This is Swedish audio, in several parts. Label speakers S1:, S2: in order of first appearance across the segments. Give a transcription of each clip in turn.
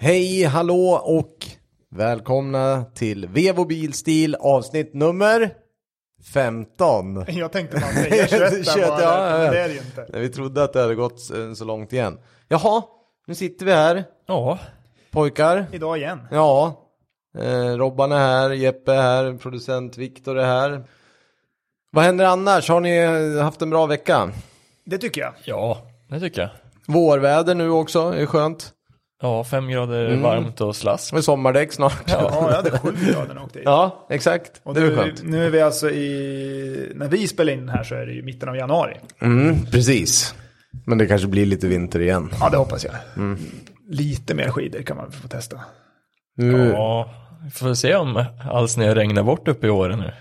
S1: Hej, hallå och välkomna till Vevo Bilstil avsnitt nummer 15.
S2: Jag tänkte man säger 21,
S1: 21,
S2: bara,
S1: ja, ja.
S2: men det är det ju inte.
S1: Vi trodde att det hade gått eh, så långt igen. Jaha, nu sitter vi här,
S3: Ja,
S1: pojkar.
S2: Idag igen.
S1: Ja, eh, Robban är här, Jeppe är här, producent Viktor är här. Vad händer annars? Har ni eh, haft en bra vecka?
S2: Det tycker jag.
S3: ja, det tycker jag.
S1: Vårväder nu också, är skönt.
S3: Ja, fem grader
S1: Mm.
S3: varmt och slask.
S1: Och sommardäck snart. Ja,
S2: Ja, jag hade 7 grader när jag åkte hit.
S1: exakt.
S2: Och
S1: det är
S2: nu,
S1: väl skönt.
S2: nu är vi alltså i, när vi spelar in den här så är det ju mitten av januari.
S1: Mm, precis. Men det kanske blir lite vinter igen.
S2: Ja, det hoppas jag.
S1: Mm.
S2: Lite mer skidor kan man väl få testa.
S1: Nu, ja.
S3: Ja, vi får se om all snö regnar bort uppe i åren nu.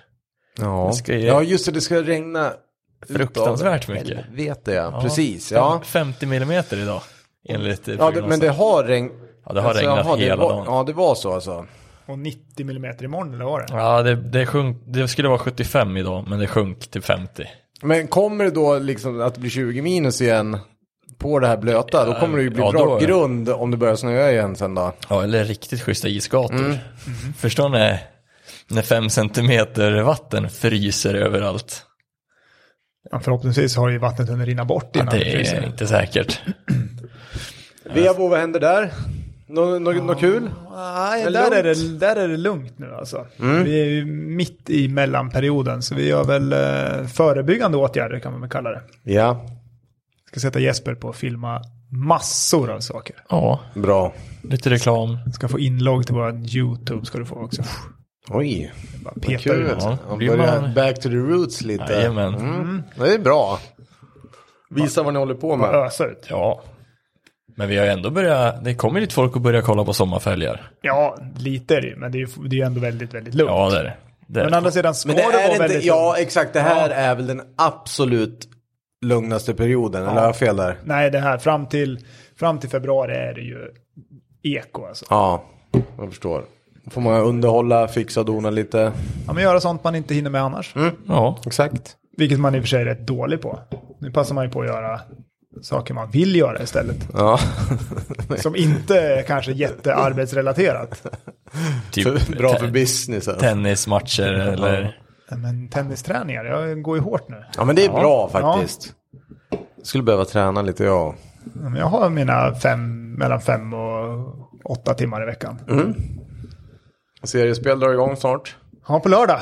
S1: Ja.
S3: ska ge-
S1: just det, det ska regna.
S3: Fruktansvärt mycket.
S1: Vet det, ja. Precis, ja.
S3: 50 millimeter idag, enligt eh,
S1: Ja, det,
S3: prognosen.
S1: men det har regn... alltså,
S3: Ja, det har regnat
S1: det
S3: hela
S1: var,
S3: dagen.
S1: Ja, det var så alltså.
S2: Och 90 millimeter imorgon, eller vad var det?
S3: Ja, det, det, sjönk, det skulle vara 75 idag, men det sjönk till 50.
S1: Men kommer det då liksom att bli 20 minus igen på det här blöta, då kommer det ju bli
S3: Ja,
S1: bra
S3: då-
S1: grund om det börjar snöa igen sen då.
S3: Ja, eller riktigt schyssta isgator.
S1: Mm.
S3: Mm-hmm. Förstår ni när 5 centimeter vatten fryser överallt?
S2: Ja, förhoppningsvis har ju vattnet hunnit rinna bort
S3: Ja,
S2: innan
S3: det är inte säkert.
S1: Vevo, vad händer där? Något nå, nå kul?
S2: Nej,
S1: Men
S2: där är,
S1: lugnt. Mm.
S2: det, där är det lugnt nu alltså. Vi är ju mitt i mellanperioden, så vi gör väl eh, förebyggande åtgärder kan man väl kalla det.
S1: Ja,
S2: Ska sätta Jesper på att filma massor av saker.
S3: Ja,
S1: bra.
S3: lite reklam.
S2: Ska få inlogg till våran YouTube ska du få också.
S1: Oj,
S2: Bara peta
S1: kul.
S2: ut.
S1: Ja,
S3: Ja, blir
S1: börjar
S3: man-
S1: back to the roots lite.
S3: Jajamän.
S1: Mm. Det är bra. Visa vad ni håller på med.
S2: Ösa ut.
S3: Ja. Men vi har ju ändå börjat, det kommer lite folk att börja kolla på sommarfälgar.
S2: Ja, lite är det ju, men det är ju, det är ju ändå väldigt, väldigt lugnt.
S3: Ja, det är det. det. är
S2: men å
S3: det.
S2: andra sidan ska
S1: Men
S2: det,
S1: det
S2: vara
S1: är inte,
S2: väldigt
S1: ja
S2: lugnt.
S1: exakt, det här är väl den absolut lugnaste perioden, eller har jag fel där?
S2: Nej, det här fram till, fram till februari är det ju eko alltså.
S1: Ja, jag förstår. Får man underhålla, fixa och dona lite.
S2: Ja, men göra sånt man inte hinner med annars.
S1: Mm.
S3: Ja,
S1: Exakt.
S2: Vilket man i och för sig är rätt dålig på. Nu passar man ju på att göra saker man vill göra istället.
S1: Ja,
S2: Som inte är kanske jättearbetsrelaterat.
S3: typ
S1: bra
S3: te-
S1: för businessen.
S3: tennismatcher eller...
S2: Men tennisträningar, jag går ju hårt nu.
S1: Ja men det är bra
S2: Ja.
S1: faktiskt. Skulle behöva träna lite jag.
S2: Ja, men Jag har mina fem, mellan fem och åtta timmar i veckan.
S1: Seriespel drar igång snart.
S2: Ja, på lördag.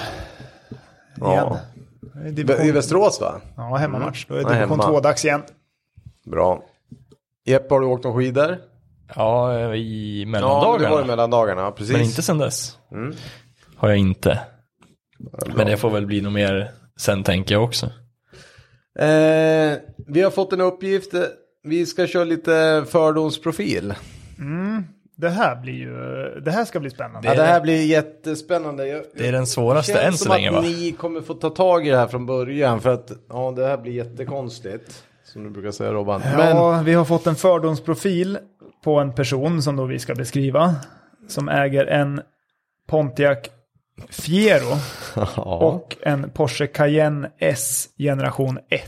S1: Ja.
S2: Det är
S1: Vä- I
S2: division-
S1: Västerås va?
S2: Ja, hemmamatch. Då är
S1: Ja,
S2: det division
S1: Mm. hemma.
S2: 2-dags igen.
S1: Bra. Jeppe, har du åkt någon skidor?
S3: Ja, i
S1: Ja, det
S3: mellandagarna.
S1: var i mellandagarna. ja, Precis. Mm.
S3: men inte sen dess. Har jag inte. Men det får väl bli något mer sen tänker jag också.
S1: Eh, vi har fått en uppgift. eh, Vi ska köra lite fördomsprofil.
S2: Det här blir ju... Det här ska bli spännande.
S1: Ja, det här blir jättespännande. Jag,
S3: Det är den svåraste än så
S1: som
S3: länge
S1: att
S3: va?
S1: ni kommer få ta tag i det här från början. För att ja, det här blir jättekonstigt. Som du brukar säga Robban. Men
S2: Ja, vi har fått en fördomsprofil på en person som då vi ska beskriva. Som äger en Pontiac Fiero
S1: ja,
S2: och en Porsche Cayenne S generation 1.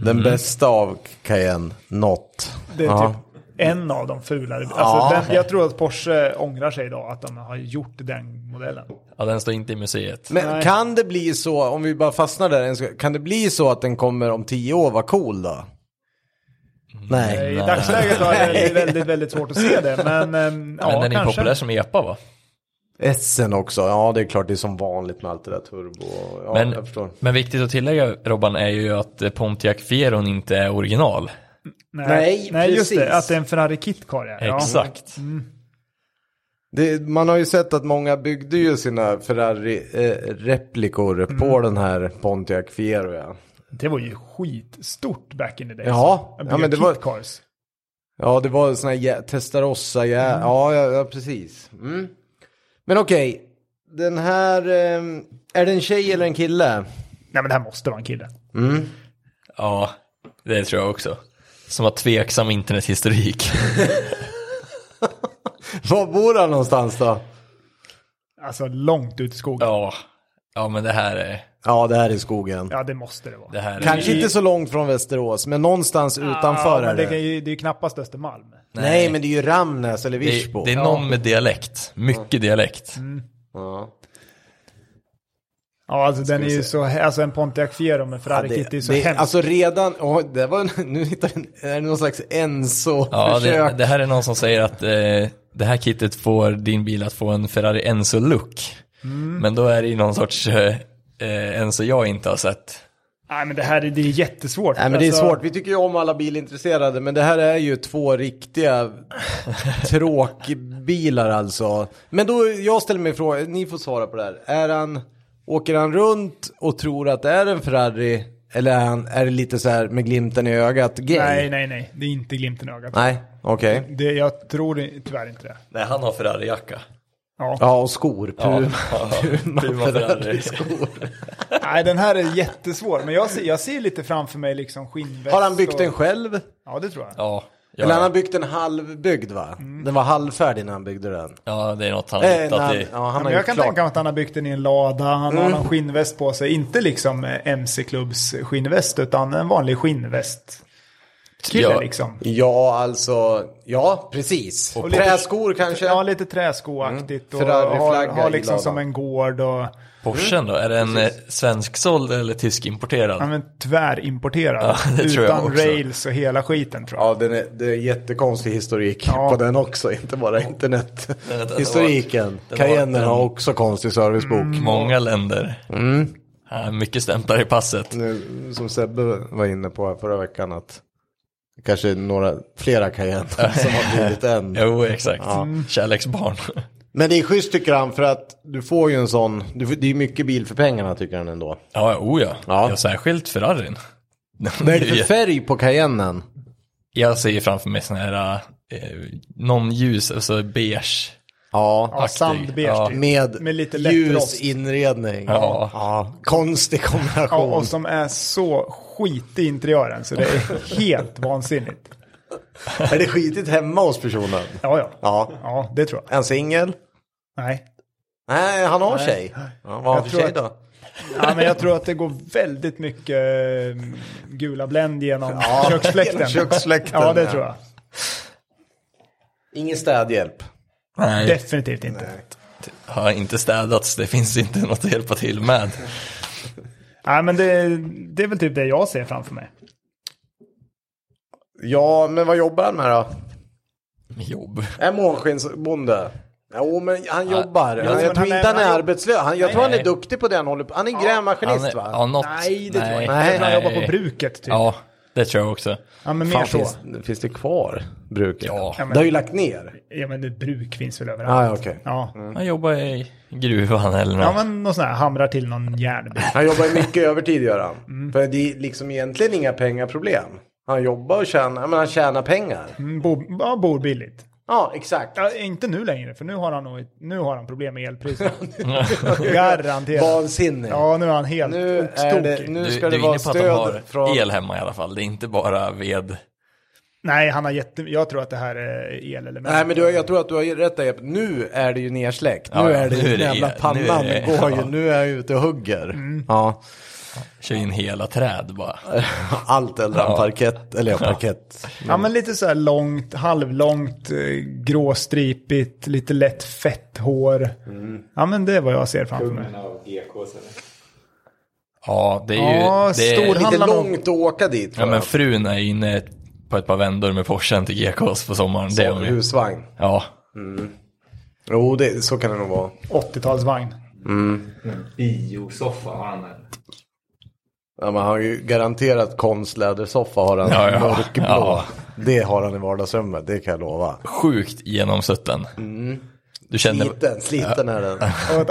S1: den bästa av Cayenne, not.
S2: Mm. Det är
S1: Ja.
S2: typ en av de fulare. Alltså
S1: Ja.
S2: den, jag tror att Porsche ångrar sig idag att de har gjort den modellen.
S3: Ja, den står inte i museet.
S1: Men
S2: Nej.
S1: kan det bli så, om vi bara fastnar där, en sekund, kan det bli så att den kommer om tio år vara cool då? Nej.
S2: I dagsläget var det väldigt, väldigt svårt att se det. Men, ehm, ja,
S3: men den är
S2: kanske.
S3: populär som epa va?
S1: Essen också, ja det är klart det är som vanligt med allt det där turbo. Ja,
S3: Men,
S1: jag förstår.
S3: men viktigt att tillägga Robban är ju att eh, Pontiac Fieron inte är original.
S2: Nej,
S1: Nej,
S2: Nej, just
S1: precis.
S2: det. Att det är en Ferrari Kit Car. Ja. Mm.
S3: Exakt.
S1: Det, man har ju sett att många byggde ju sina
S2: Mm.
S1: Ferrari-replikor på den här Pontiac Fiero. Ja.
S2: Det var ju skitstort back in the days.
S1: Ja, ja, men det var-
S2: Kit Cars.
S1: ja, det var såna här jä- Testarossa, jä-
S2: Mm.
S1: ja, ja, ja, precis. Mm. Men okej, den här, eh, är det en tjej eller en kille?
S2: Nej, men det här måste vara en kille.
S3: Ja, det tror jag också. Som har tveksam internethistorik.
S1: Var bor han någonstans då?
S2: Alltså långt ut i skogen.
S3: ja, Ja men det här är...
S1: Ja, det här är skogen.
S2: Ja, det måste det vara.
S3: Det här
S1: Kanske
S3: är...
S1: inte så långt från Västerås, men någonstans utanför
S2: ja,
S1: är
S2: men det,
S1: det.
S2: kan ju, det är ju knappast Östermalm.
S1: Nej, men det är ju Ramnäs eller
S3: det,
S1: Virsbo.
S3: är- det är någon med dialekt. Mycket
S1: Mm.
S3: dialekt.
S1: Ja.
S2: Ja, alltså den är ju så, alltså en Pontiac Fiero med
S1: Ja,
S2: Ferrari
S1: det-
S2: Kit är ju så
S1: det-
S2: hemskt.
S1: Alltså redan, åh, det var, en- nu hittar jag en- är det någon slags Enzo-försök.
S3: Ja, det, det här är någon som säger att eh, det här kittet får din bil att få en Ferrari Enzo-look.
S1: Mm.
S3: Men då är det ju någon sorts eh, eh, Enzo jag inte har sett.
S2: Nej, men det här är, det är jättesvårt.
S1: Nej men det är
S2: Alltså,
S1: svårt, vi tycker ju om alla bilintresserade men det här är ju två riktiga tråkbilar alltså. Men då, jag ställer mig frågan, ni får svara på det här. Är han, åker han runt och tror att det är en Ferrari eller är, han, är det lite så här med glimten i ögat gay?
S2: Nej, nej, nej. Det är inte glimten i ögat.
S1: Nej, okej.
S2: Det, jag tror det- tyvärr inte det.
S3: Nej, han har Ferrari-jacka.
S2: Ja.
S1: Ja och skor, Puma,
S3: ja.
S1: Puma,
S3: Puma
S1: Ferrari
S3: Ferrari.
S1: skor.
S2: Nej, den här är jättesvår. Men jag ser, jag ser lite framför mig liksom skinnväst.
S1: Har han byggt den
S2: och-
S1: själv?
S2: Ja, det tror jag.
S3: Ja,
S1: Eller han har
S3: ja,
S1: byggt en halvbyggd va?
S2: Mm.
S1: Den var halvfärdig när han byggde den.
S3: ja, det är något han
S1: Eh,
S3: hittat
S1: när-
S3: i.
S1: ja,
S2: Ja,
S1: han har
S2: men
S1: gjort
S2: jag kan
S1: klart. Mm.
S2: tänka mig att han har byggt den i en lada, han har någon skinnväst på sig. Inte liksom eh, MC-klubbs skinnväst, utan en vanlig skinnväst. Kille
S3: Ja.
S2: liksom.
S1: Ja, alltså, ja, precis. Och
S2: lite-
S1: Träskor kanske?
S2: Ja, lite träskoaktigt och har,
S1: Ferrari-flagga
S2: har
S1: i
S2: liksom
S1: ladan.
S2: som en gård och
S3: Porschen då, är den eh, svensksåld eller tyskinimporterad?
S2: ja, men, tvärimporterad.
S3: Ja, det tror jag
S2: utan
S3: också.
S2: rails och hela skiten tror jag.
S1: Ja, den är, det är jättekonstig historik
S2: Ja.
S1: på den också, inte bara
S3: Den- den
S1: internethistoriken.
S3: var- den
S1: Cayenne
S3: var-
S1: har också konstig servicebok.
S2: Mm.
S3: Många länder.
S1: Mm.
S3: Ja, mycket stämplar i passet.
S1: Nu, som Sebbe var inne på här förra veckan att kanske några, flera Cayenne som har blivit en.
S3: Jo, exakt. Kärleksbarn.
S1: Men det är schysst tycker han för att du får ju en sån, du, får- det är mycket bil för pengarna tycker han ändå.
S3: Ja, oh ja.
S1: Ja.
S3: ja. Särskilt Ferrarin.
S1: Vad är det för färg på Cayennen?
S3: Jag ser framför mig sån här, eh, någon ljus, alltså beige.
S1: Ja,
S2: Ja, sandbeige
S3: Ja.
S2: typ.
S1: med,
S2: Med lite lätt
S1: ljus
S2: rost.
S1: inredning.
S3: Ja.
S1: Konstig kombination.
S2: Ja, och som är så skitig i interiören så det är helt vansinnigt.
S1: Är det skitigt hemma hos personen?
S2: Ja, ja.
S1: Ja.
S2: Ja, det tror jag.
S1: Är han singel?
S2: Nej.
S1: Nej, han har tjej. Ja, vad har han för
S2: tror
S1: tjej
S2: att-
S1: då?
S2: Ja, men jag tror att det går väldigt mycket eh, gula Blend genom köksfläkten.
S1: köksfläkten,
S2: Ja, det
S1: ja.
S2: tror jag.
S1: Ingen städhjälp.
S3: Nej, det
S2: Definitivt inte. Nej,
S3: har inte städats. Det finns inte något att hjälpa till med.
S2: men det, det är väl typ det jag ser framför mig.
S1: Ja, men vad jobbar han med då?
S3: Jobb.
S1: Är månskensbonde? Jo, men han jobbar.
S3: Ja,
S1: jag
S2: men
S1: tror
S2: han
S1: inte
S2: är-
S1: han är
S2: han-
S1: arbetslös. Han, jag tror han är
S3: nej.
S1: duktig på det han håller på Han är grävmaskinist
S3: Han är-
S1: va?
S3: ja, något.
S2: Nej, det tror jag
S3: Nej.
S2: inte. Mm. Jag tror Han
S3: Nej.
S2: jobbar på bruket typ. Ja,
S3: Ja, det tror jag också.
S2: men mer
S1: Fan,
S2: så.
S1: finns, finns det kvar bruket?
S3: Ja.
S1: Det har ju lagt ner.
S2: Ja, men det, bruk finns väl
S1: Ah, ja,
S2: överallt.
S1: okej.
S2: Ja, Mm.
S3: Han jobbar i gruvan eller något.
S2: ja men någon sån här hamrar till någon järnbit.
S1: Han jobbar ju mycket övertid gör han.
S3: Mm.
S1: För det är liksom egentligen inga pengaproblem. Han jobbar och tjänar, men han tjänar pengar.
S2: Mm, Bor, ja, bor billigt.
S1: Ja, exakt.
S2: Ja, inte nu längre, för nu har han, nog, ett- nu har han problem med elpriset. Garanterat.
S1: Vansinne.
S2: Ja, nu är han helt
S1: Nu, är det,
S2: oxtokig.
S1: nu
S3: du,
S1: ska
S3: du
S1: det
S3: är
S1: vara
S3: inne på att de
S1: stöd
S3: har
S1: från...
S3: el hemma i alla fall. Det är inte bara ved.
S2: Nej, han har jätte... Jag tror att det här är elelement.
S1: Nej men du, har- jag tror att du har rätt där Jeppe. Nu är det ju nersläckt.
S3: Ja,
S1: nu
S3: ja,
S1: är det
S3: nu är det-
S1: jävla
S3: nu är
S1: pannan
S3: det-
S1: går ju.
S3: ja. Mm.
S1: Nu är jag ute och hugger. Ja.
S3: Kör in hela träd bara.
S1: Allt eller ja. parkett. Eller ja, parkett.
S2: Ja, men lite så här långt, halvlångt, eh, gråstripigt, lite lätt fett hår.
S1: Mm.
S2: Ja, men det är vad jag ser framför mig.
S3: Ja, det är ju...
S2: Ja,
S3: det är,
S2: stor
S1: Lite
S2: handlar om-
S1: långt att åka dit.
S3: ja,
S1: tror
S3: men
S1: jag.
S3: frun är inne på ett par vändor med Porschen till GKs på sommaren. Det är hon ju.
S1: Husvagn.
S3: Ja,
S1: Jo, det, så kan det nog vara.
S2: 80-talsvagn.
S4: Biosoffa har han eller?
S1: Ja, men han har ju garanterat konstlädersoffa har han.
S3: Ja, ja.
S1: Mörkblå.
S3: Ja.
S1: Det har han i vardagsrummet, det kan jag lova.
S3: sjukt genomsutten. Du känner...
S1: Sliten, sliten är den.
S2: Och ett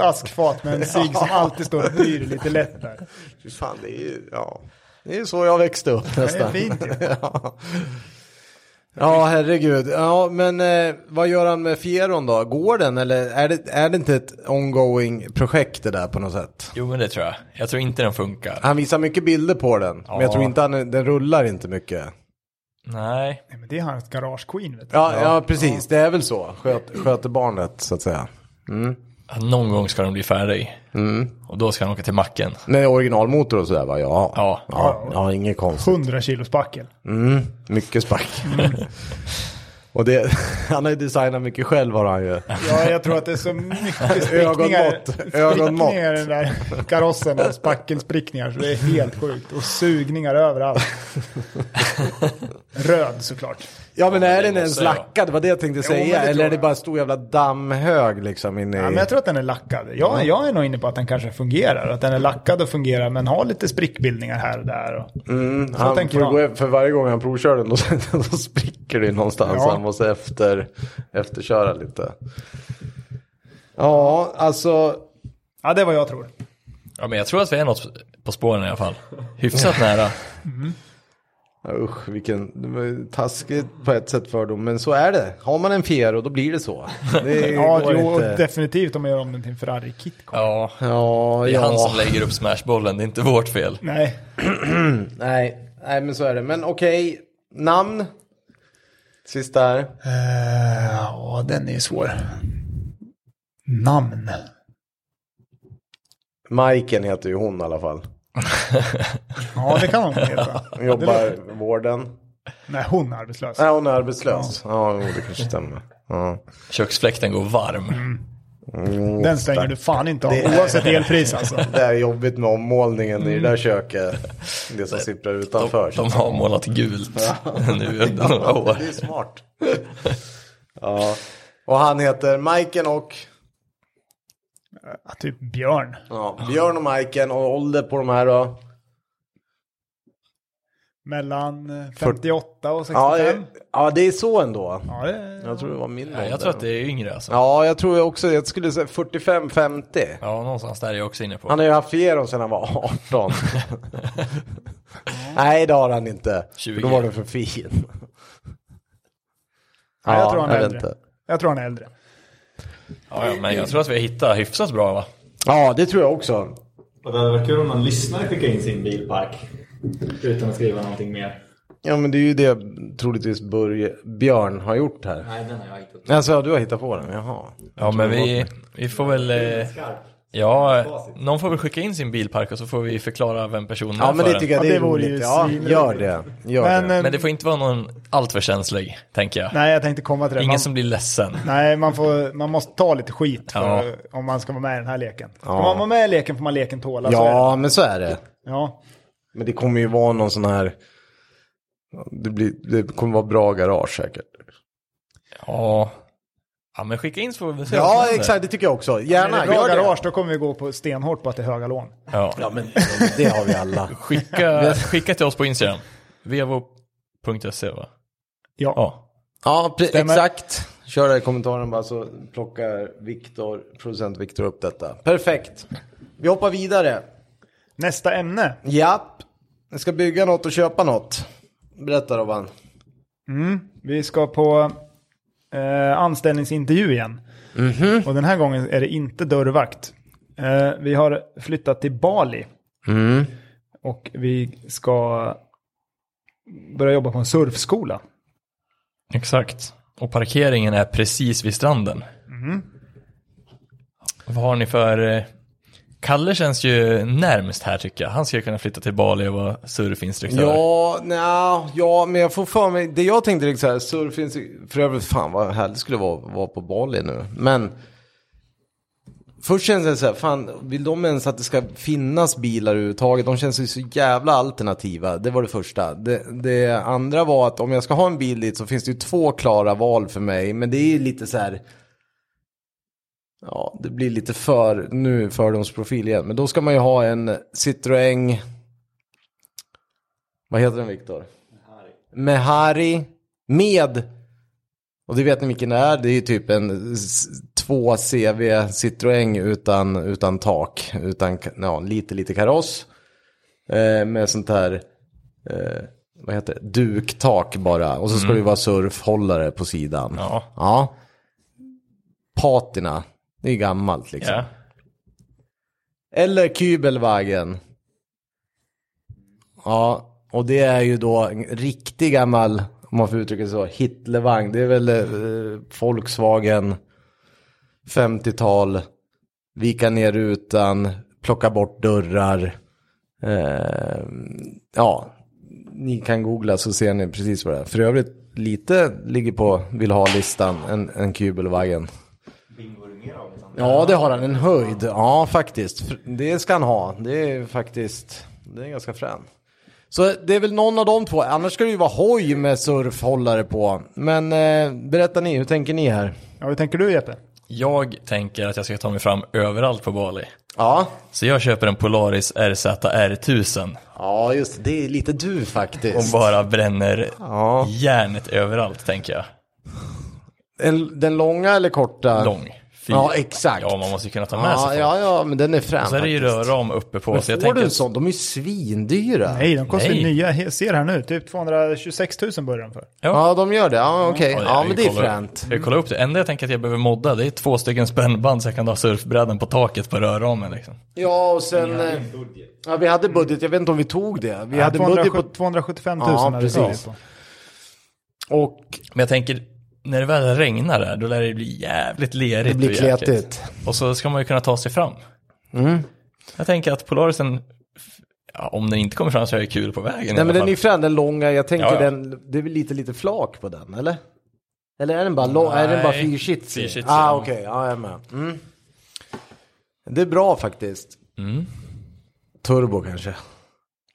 S2: askfat med en cigg som alltid står och pyr lite lätt där.
S1: Fy fan, det är ju, ja. Det är ju så jag växte upp
S2: Det är
S1: nästan.
S2: fint ju.
S1: ja. ja, herregud. Ja, men eh, vad gör han med Fieron då? Går den eller är det, är det inte ett ongoing projekt det där på något sätt?
S3: Jo, men det tror jag. Jag tror inte den funkar.
S1: Han visar mycket bilder på den, men jag
S3: Ja.
S1: tror inte han, den rullar inte mycket.
S3: Nej.
S2: Nej, men det är hans garage queen, vet du.
S1: Ja, ja, precis, det är väl så. Sköt, sköter barnet så att säga.
S3: Ja, Någon gång ska den bli färdig. Och då ska han åka till macken.
S1: Med originalmotor och sådär va? Ja.
S3: Ja.
S1: Ja, ja inget konstigt.
S2: 100 kilo spackel.
S1: Mm, mycket spark. och det, han har ju designat mycket själv har han ju.
S2: Ja, jag tror att det är så mycket sprickningar,
S1: Ögonmått, ögonmått.
S2: sprickningar i den där karossen och spackelsprickningar så det är helt sjukt. Och sugningar överallt. Röd såklart.
S1: Ja men är den
S3: måste
S1: ens
S3: jag.
S1: lackad? Det var det jag tänkte
S2: alltså- men det
S1: säga. Eller
S2: tror
S1: är det
S2: jag.
S1: bara en stor jävla dammhög liksom inne i...
S2: Ja, men jag tror att den är lackad. Jag, jag är nog inne på att den kanske fungerar. Att den är lackad och fungerar men har lite sprickbildningar här och där. Och,
S1: Mm,
S2: Så
S1: han
S2: tänker
S1: får
S2: jag.
S1: gå, efter- för varje gång han provkör den då, då spricker det någonstans.
S2: Ja.
S1: Han måste efter, efterköra lite. Ja, alltså.
S2: ja, det är vad jag tror.
S3: Ja, men jag tror att vi är något på spåren i alla fall. Hyfsat nära.
S1: Usch, vilken det var taskigt på ett sätt för dem. Men så är det. Har man en Fiero då blir det så. Det
S2: Ja,
S1: går
S2: jo, och
S1: inte.
S2: definitivt om jag gör om den till en Ferrari Kitco.
S3: Ja,
S1: Ja,
S3: det är han
S1: ja.
S3: som lägger upp smashbollen, det är inte vårt fel.
S2: Nej,
S1: Nej, nej, men så är det. Men okej, namn. Sista här.
S2: Eh, Ja, den är ju svår. Namn.
S1: Majken heter ju hon i alla fall.
S2: Ja, det kan hon heta.
S1: Hon jobbar vården.
S2: Nej, hon är arbetslös.
S1: Nej, hon är arbetslös. Ja, jo, det kanske stämmer. Ja.
S3: Köksfläkten går varm.
S1: Mm.
S2: Den slänger du fan inte av, oavsett elpris alltså.
S1: Det är jobbigt med ommålningen i det där köket. Det som sipprar utanför.
S3: De har målat gult nu under några
S1: Ja,
S3: år.
S1: det är smart. Ja. Och han heter Majken och
S2: Ja, typ björn.
S1: ja, Björn och Majken och ålder på de här då.
S2: Mellan eh, 58 och
S1: Ja, det,
S2: 65.
S1: ja, det är så ändå.
S2: Ja, det,
S1: Jag tror det var min
S3: Nej,
S1: ålder.
S3: jag tror att det är yngre alltså.
S1: Ja, jag tror också, jag skulle säga 45-50.
S3: Ja, någonstans där är jag också inne på.
S1: Han har ju haft Fieron sedan han var 18. Nej, det har han inte.
S3: 20.
S1: Då var den för fin.
S2: Ja, jag tror han är
S1: vet
S2: äldre. jag tror han är äldre.
S3: Ja, ja, men jag tror att vi har hittat hyfsat bra va?
S1: Ja, det tror jag också.
S4: Och det hade varit kul om någon lyssnare skickade in sin bilpark. Utan att skriva någonting mer.
S1: Ja, men det är ju det troligtvis Börje, Björn har gjort här.
S4: Nej, den har jag hittat.
S1: Alltså, du har hittat på den, jaha.
S3: Ja, men vi, vi får väl... eh,
S4: Skarp.
S3: Ja, någon får väl skicka in sin bilpark och så får vi förklara vem personen
S1: Ja,
S3: är
S1: men
S3: för
S1: det
S3: den.
S1: tycker jag
S2: Ja,
S1: det
S2: det
S1: är
S2: vore ju
S1: roligt. Ja,
S2: svinroligt.
S1: gör det. Gör
S2: Men,
S1: det.
S2: eh,
S3: Men det får inte vara någon allt för känslig, tänker jag.
S2: nej, jag tänkte komma till det. Man,
S3: Ingen som blir ledsen.
S2: Nej, man, får, man måste ta lite skit för,
S3: Ja.
S2: om man ska vara med i den här leken. Ska
S1: Ja.
S2: man vara med i leken får man leken tåla. så är det.
S1: Ja, men så är det.
S2: ja.
S1: Men det kommer ju vara någon sån här... Det, blir, det kommer vara bra garage säkert.
S3: Ja. Ja, men skicka in så får vi se vad som
S1: Ja,
S3: händer.
S1: exakt. Det tycker jag också.
S2: Är det
S1: Gärna,
S2: bra
S1: gör det.
S2: garage, då kommer vi gå på stenhårt på att det är höga lån.
S3: Ja.
S1: Ja, men det har vi alla.
S3: Skicka, skicka till oss på Instagram. vevo.se E, va?
S2: Ja.
S3: Ja.
S1: Ja, pre-
S2: Stämmer.
S1: exakt. Kör det i kommentaren bara så plockar Viktor, producent Viktor upp detta. Perfekt. Vi hoppar vidare.
S2: Nästa ämne.
S1: Japp. Jag ska bygga något och köpa något. Berätta Robban.
S2: Vi ska på eh, anställningsintervju igen.
S1: Mhm.
S2: Och den här gången är det inte dörrvakt. Eh, vi har flyttat till Bali
S1: Mm.
S2: och vi ska börja jobba på en surfskola.
S3: Exakt. Och parkeringen är precis vid stranden.
S1: Mhm.
S3: Vad har ni för... eh, Kalle känns ju närmst här tycker jag. Han skulle kunna flytta till Bali och vara surfinstruktör.
S1: Ja, nja, ja, men jag får för mig. Det jag tänkte liksom så här, surfins, för övrigt fan vad härligt skulle det vara att vara på Bali nu. Men först känns det så här, fan vill de ens att det ska finnas bilar överhuvudtaget? De känns ju så jävla alternativa. Det var det första. Det, det andra var att om jag ska ha en bil dit så finns det ju två klara val för mig. Men det är ju lite så här. Ja, det blir lite för, nu fördomsprofil igen. Men då ska man ju ha en Citroën vad heter den Viktor? Mehari. Med. Och det vet ni vilken det är. Det är ju typ en s- 2 CV Citroën utan, utan tak. Utan ka- ja, lite, lite kaross. Eh, med sånt här. Eh, vad heter det? Duktak bara. Och så ska det ju vara surfhållare på sidan.
S3: Ja.
S1: ja. Patina. Det är ju gammalt liksom.
S3: Ja.
S1: Eller Kübelwagen. Ja, och det är ju då en riktig gammal, om man får uttrycka det så, Hitlervagn. Det är väl eh, Volkswagen 50-tal vika ner rutan, plocka bort dörrar. Eh, ja, ni kan googla så ser ni precis vad det är. För övrigt, lite ligger på vill ha-listan, en, en kubelvaggen. Ja, det har han. En höjd. Ja, faktiskt. Det ska han ha. Det är faktiskt, det är ganska frän. Så det är väl någon av de två. Annars ska det ju vara hoj med surfhållare på. Men eh, berätta ni, hur tänker ni här?
S2: Ja, hur tänker du Jeppe?
S3: Jag tänker att jag ska ta mig fram överallt på Bali.
S1: Ja.
S3: Så jag köper en Polaris RZR 1000
S1: Ja, just det. Det är lite du
S3: och
S1: faktiskt.
S3: bara bränner
S1: Ja.
S3: järnet överallt tänker jag.
S1: En, den långa eller korta?
S3: Lång. Fy-
S1: Ja, exakt.
S3: Ja, man måste ju kunna ta med sig
S1: Ja,
S3: folk.
S1: ja, ja, men den är frän
S3: Så är det ju
S1: faktiskt.
S3: röra uppe på. Så jag
S1: Får
S3: tänker
S1: du en
S3: att
S1: sån? De är ju svindyra.
S2: Nej, de kostar ju
S3: Nej.
S2: nya, he- ser här nu, typ 226 000 börjar de för.
S1: Ja, de gör det. Ja, okej.
S3: jag
S1: Ja,
S3: ju
S1: men det är
S3: kollar-
S1: fränt.
S3: Jag kollar upp det. Enda jag tänker att jag behöver modda, det är två stycken spännband så jag kan ha surfbrädan på taket på rörramen liksom.
S1: Ja, och sen... eh, Ja, vi hade budget. Jag vet inte om vi tog det. Vi hade budget på...
S2: 275 000
S1: Ja,
S2: hade vi
S1: precis.
S2: på.
S1: Och
S3: Men jag tänker, när det väl regnar där, då lär det bli jävligt lerigt
S1: det blir
S3: och jäkligt.
S1: kletigt. Mm.
S3: Och så ska man ju kunna ta sig fram. Jag tänker att Polarisen, ja, om den inte kommer fram så är det kul på vägen i
S1: Nej,
S3: alla
S1: men den är
S3: fall.
S1: ju frän, den långa. Jag tänker
S3: Ja, ja.
S1: den... Det är väl lite, lite flak på den, eller? Eller är den bara, lång, är den bara
S3: Nej,
S1: fyrkitsig?
S3: fyrkitsig,
S1: Ah,
S3: ja.
S1: okej. Ja, jag är med. Mm. Det är bra faktiskt.
S3: Mm.
S1: Turbo kanske.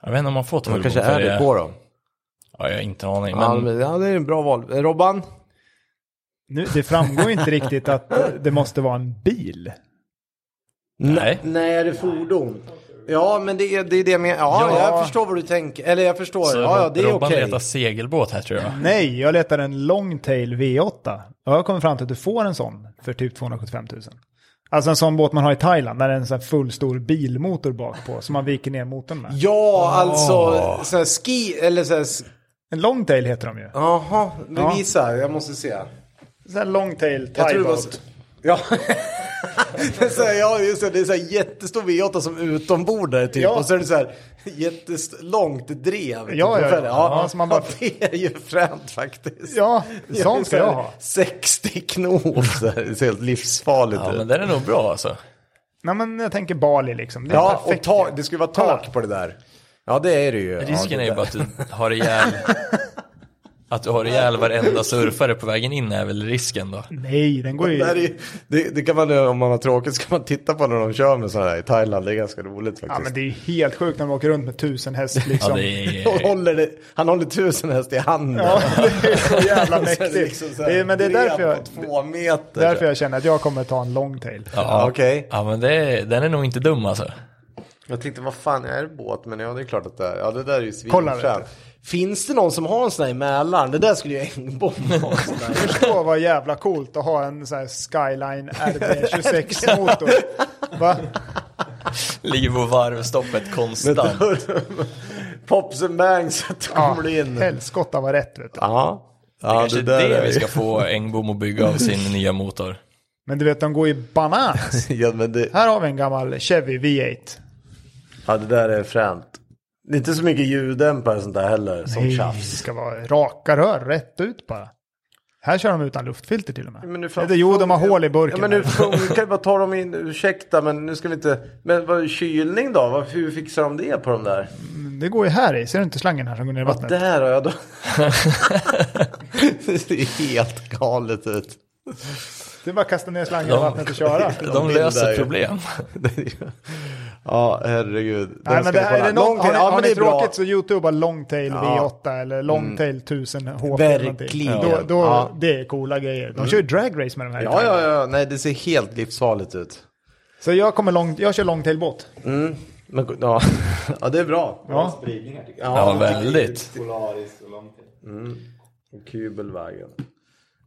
S3: Jag vet inte om man får turbo.
S1: Man kanske
S3: för
S1: är det på dem.
S3: Ja, jag har inte en aning.
S1: Ja,
S3: Men
S1: men, ja, det är en bra val. Eh, Robban?
S2: Nu, det framgår inte riktigt att det måste vara en bil.
S3: Nej.
S1: Nej, det är fordon. Ja, men det är det, är det med. Ja,
S3: Ja.
S1: jag förstår vad du tänker. Eller jag förstår.
S3: så
S1: ja, ja, det är
S3: Robban
S1: okej.
S3: letar segelbåt här tror jag.
S2: Nej, jag letar en Longtail V8. Jag har kommit fram till att du får en sån för typ 275 000. Alltså en sån båt man har i Thailand, där det är en sån här full stor bilmotor bak på som man viker ner motorn med.
S1: Ja, alltså sån här ski eller så här. s-
S2: En Longtail heter de ju.
S1: Jaha, bevisa. Jag måste se.
S2: Sån här Longtail
S1: Jag tror det var.
S2: Thai-båt.
S1: så- Ja. det är så här, ja, just det. Det är så här jättestor V8 som utombordare typ.
S2: Ja.
S1: Och så är det så här jättelångt drev. typ,
S2: ja,
S1: på fällen.
S2: ja.
S1: ja.
S2: Ja, så man bara-
S1: det är ju fränt faktiskt.
S2: Ja,
S1: Det är
S2: sån
S1: så
S2: ska
S1: här
S2: jag ha.
S1: 60 knop. så här, Det ser helt livsfarligt typ.
S3: Ja,
S1: ut.
S3: men den är nog bra alltså.
S2: Nej men jag tänker Bali liksom. Det är
S1: Ja, och
S2: perfekt.
S1: ta, det skulle vara tak på det där. Ja, det är det ju.
S3: Risken
S1: ja,
S3: är
S1: det
S3: ju bara att du har ihjäl... att du har ihjäl varenda surfare på vägen in är väl risken då.
S2: Nej, den går
S1: Det, här är,
S2: ju...
S1: ju- det, det kan man, om man har tråkigt, ska man titta på när de kör med sådana här i Thailand. Det är ganska roligt
S2: Ja
S1: faktiskt.
S2: men det är ju helt sjukt när de åker runt med tusen häst liksom.
S3: Ja, det är...
S1: Och håller det, han håller tusen häst i handen.
S2: Ja, det är så jävla
S1: Så är
S2: mäktigt.
S1: det liksom så här,
S2: det är, men det är
S1: drev
S2: därför jag,
S1: på Två meter.
S2: därför jag känner att jag kommer ta en longtail.
S1: Ja, okej.
S3: Ja, men det, den är nog inte dum alltså.
S1: Jag tänkte, vad fan är det båt? Men ja, det är klart att det är. Ja, det där är ju
S2: Kolla, vet
S1: svinfränt. Finns det någon som har en sån här i Mälaren? Det där skulle ju en bomb ha. sån där.
S2: Förstå vad jävla coolt att ha en sån här Skyline RB26-motor. Va?
S3: Ligger på varvstoppet konstant.
S1: Pops and bangs, att
S2: Ja,
S1: kommer det in.
S2: helskotta var rätt vet du.
S1: Ja,
S3: Det
S1: ja
S3: kanske är det vi ska få Engbom att bygga av sin nya motor.
S2: Men du vet, de går ju bananas.
S1: ja, men det,
S2: Här har vi en gammal Chevy V8.
S1: ja, det där är fränt. Det är inte så mycket ljuddämpare och sånt där heller, som
S2: Det
S1: tjafs.
S2: ska vara raka rör, rätt ut bara. Här kör de utan luftfilter till och med.
S1: Men nu fan-
S2: Eller, jo, de har hål i
S1: Ja,
S2: burken.
S1: men nu funkar det, bara ta dem in, ursäkta men nu ska vi inte, men vad, kylning då? Vad, hur fixar de det på de där?
S2: Det går ju här i. Ser du inte slangen här som går ner i vattnet?
S1: Där har jag då. det ser helt galet ut.
S2: Det är bara att kasta ner slangen i vattnet och köra.
S3: De
S1: där ju.
S3: löser problem.
S1: ja, herregud. Den
S2: Nej,
S1: ska
S2: men det
S1: ni
S2: här,
S1: kolla.
S2: är det någon, har ni,
S1: Longtail,
S2: har
S1: det
S2: ni
S1: är bra. Mm.
S2: tråkigt så youtubea Longtail V8 eller Longtail 1000 HP.
S1: Verkligen.
S2: någonting. Då, då,
S1: Ja. Mm.
S2: Det är coola grejer. De kör ju dragrace med de här.
S1: Ja, ja, ja, nej det ser helt livsfarligt ut.
S2: Så jag, kommer long, jag kör Longtail-båt.
S1: Men, ja. ja, det är bra.
S2: Ja.
S4: Spridningar tycker jag.
S3: Ja, väldigt.
S4: Polaris och långt.
S1: Och Kubelvägen.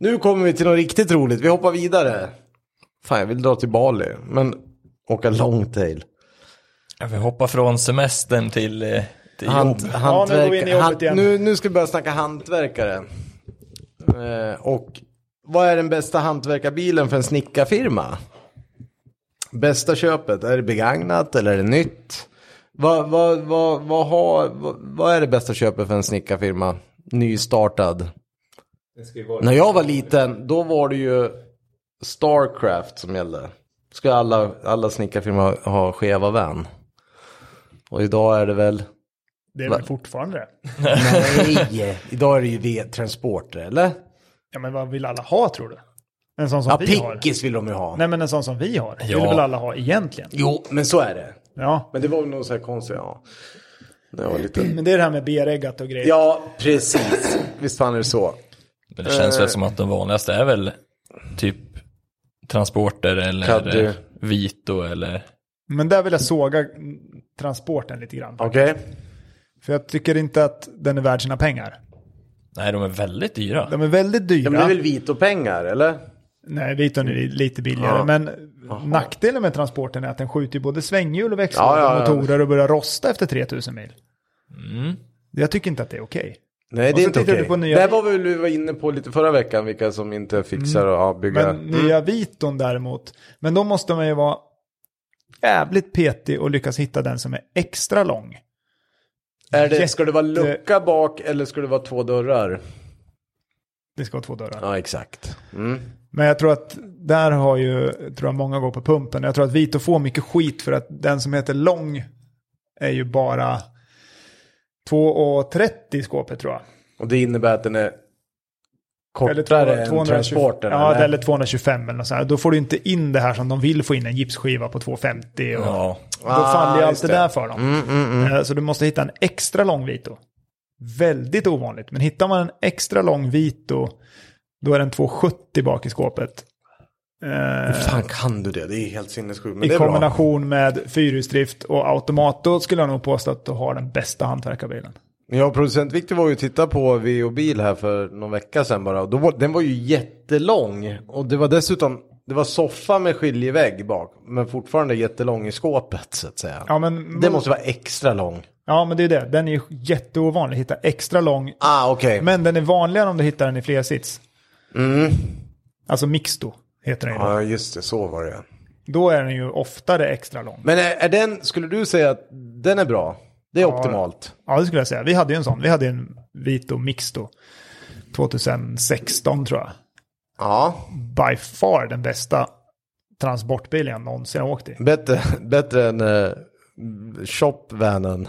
S1: Nu kommer vi till något riktigt roligt. Vi hoppar vidare. Fan, jag vill dra till Bali. Men åka longtail.
S3: Ja, Vi hoppar från semestern till, eh, till jobb.
S1: Hant,
S2: Ja, nu går vi in i jobbet igen.
S1: nu, nu ska vi börja snacka hantverkare. Eh, och vad är den bästa hantverkarbilen för en snickarfirma? Bästa köpet, är det begagnat eller är det nytt? Vad, vad, vad, vad, har, vad, vad är det bästa köpet för en snickarfirma? Nystartad.
S4: Det ska ju vara
S1: När jag var liten, då var det ju Starcraft som gällde. ska alla, alla snickarfirmor ha, ha skeva vän. Och idag är det väl...
S2: Det är väl fortfarande det.
S1: Nej, idag är det ju V-transporter, eller?
S2: Ja, men vad vill alla ha tror du? En sån som
S1: Ja,
S2: vi har?
S1: pickis vill de ju ha.
S2: Nej, men en sån som vi har.
S3: Ja.
S2: Vill väl alla ha egentligen?
S1: Jo, men så är det.
S2: Ja.
S1: Men det var väl någon så här konstig, ja. Det var lite...
S2: Men det är det här med bereggat och grejer.
S1: Ja, precis. Visst fan är det så.
S3: Men det känns väl som att de vanligaste är väl typ transporter eller
S1: Caddy.
S3: Vito eller...
S2: Men där vill jag såga mm, transporten lite grann.
S1: Okej.
S2: För jag tycker inte att den är värd sina pengar.
S3: Nej, de är väldigt dyra.
S2: De är väldigt dyra.
S1: Ja, men det är väl vito pengar, eller?
S2: Nej, Viton är lite billigare.
S1: Ja.
S2: Men nackdelen med transporten är att den skjuter ju både svänghjul och växlar
S1: Ja, ja,
S2: och
S1: ja.
S2: motorer och börjar rosta efter 3000 mil.
S3: Mm.
S2: Jag tycker inte att det är okej.
S1: Nej,
S2: Och
S1: det är
S2: så
S1: inte
S2: tittar
S1: okej.
S2: du på nya-
S1: Det här var väl vi var inne på lite förra veckan, vilka som inte fixar Mm. att ja, bygga.
S2: Mm. Men nya Viton däremot, men då måste man ju vara jävligt petig och lyckas hitta den som är extra lång.
S1: är det, ska det vara
S2: jätte-
S1: lucka bak eller ska det vara två dörrar?
S2: Det ska vara två dörrar.
S1: Ja, exakt. Mm.
S2: Men jag tror att där har ju, tror jag många går på pumpen. Jag tror att Vito får mycket skit för att den som heter lång är ju bara 2,30 i skåpet tror jag.
S1: Och det innebär att den är
S2: Eller
S1: kortare
S2: två-
S1: än
S2: 220
S1: transporten?
S2: Ja,
S1: eller?
S2: eller 225 eller något sånt. här. Då får du inte in det här som de vill få in, en gipsskiva på 250. Och
S3: Ja.
S2: Då
S1: Ah,
S2: faller ju allt
S1: just
S2: det
S1: det.
S2: där för dem.
S1: Mm, mm, mm.
S2: Eh, Så du måste hitta en extra lång Vito. Väldigt ovanligt, men hittar man en extra lång Vito, då är den 270 bak i skåpet. Eh,
S1: Hur fan kan du det? Det är helt sinnessjukt. Men
S2: I
S1: det är bra.
S2: kombination med fyrhjulsdrift och automat, då skulle jag nog påstå att du har den bästa hantverkarbilen.
S1: Ja, och producent Viktor var ju och tittade på VO bil här för någon vecka sedan bara. Och då var, den var ju jättelång. Och det var dessutom, det var soffa med skiljevägg bak. Men fortfarande jättelång i skåpet så att säga.
S2: Ja, men,
S1: Det måste vara extra lång.
S2: ja, men det är ju det. Den är ju jätteovanlig, hitta extra lång.
S1: Ah, okej. Mm.
S2: Men den är vanligare om du hittar den i flersits. Alltså mixto heter den ju. då.
S1: Ja, just det. Så var det.
S2: Då är den ju oftare extra lång.
S1: Men eh, är, är den, skulle du säga att den är bra? Det är optimalt.
S2: Ja, det skulle jag säga. Vi hade ju en sån. Vi hade ju en Vito Mixto 2016 tror jag.
S1: Ja.
S2: By far den bästa transportbilen jag någonsin har åkt i.
S1: Bättre, bättre än eh, shopvanen.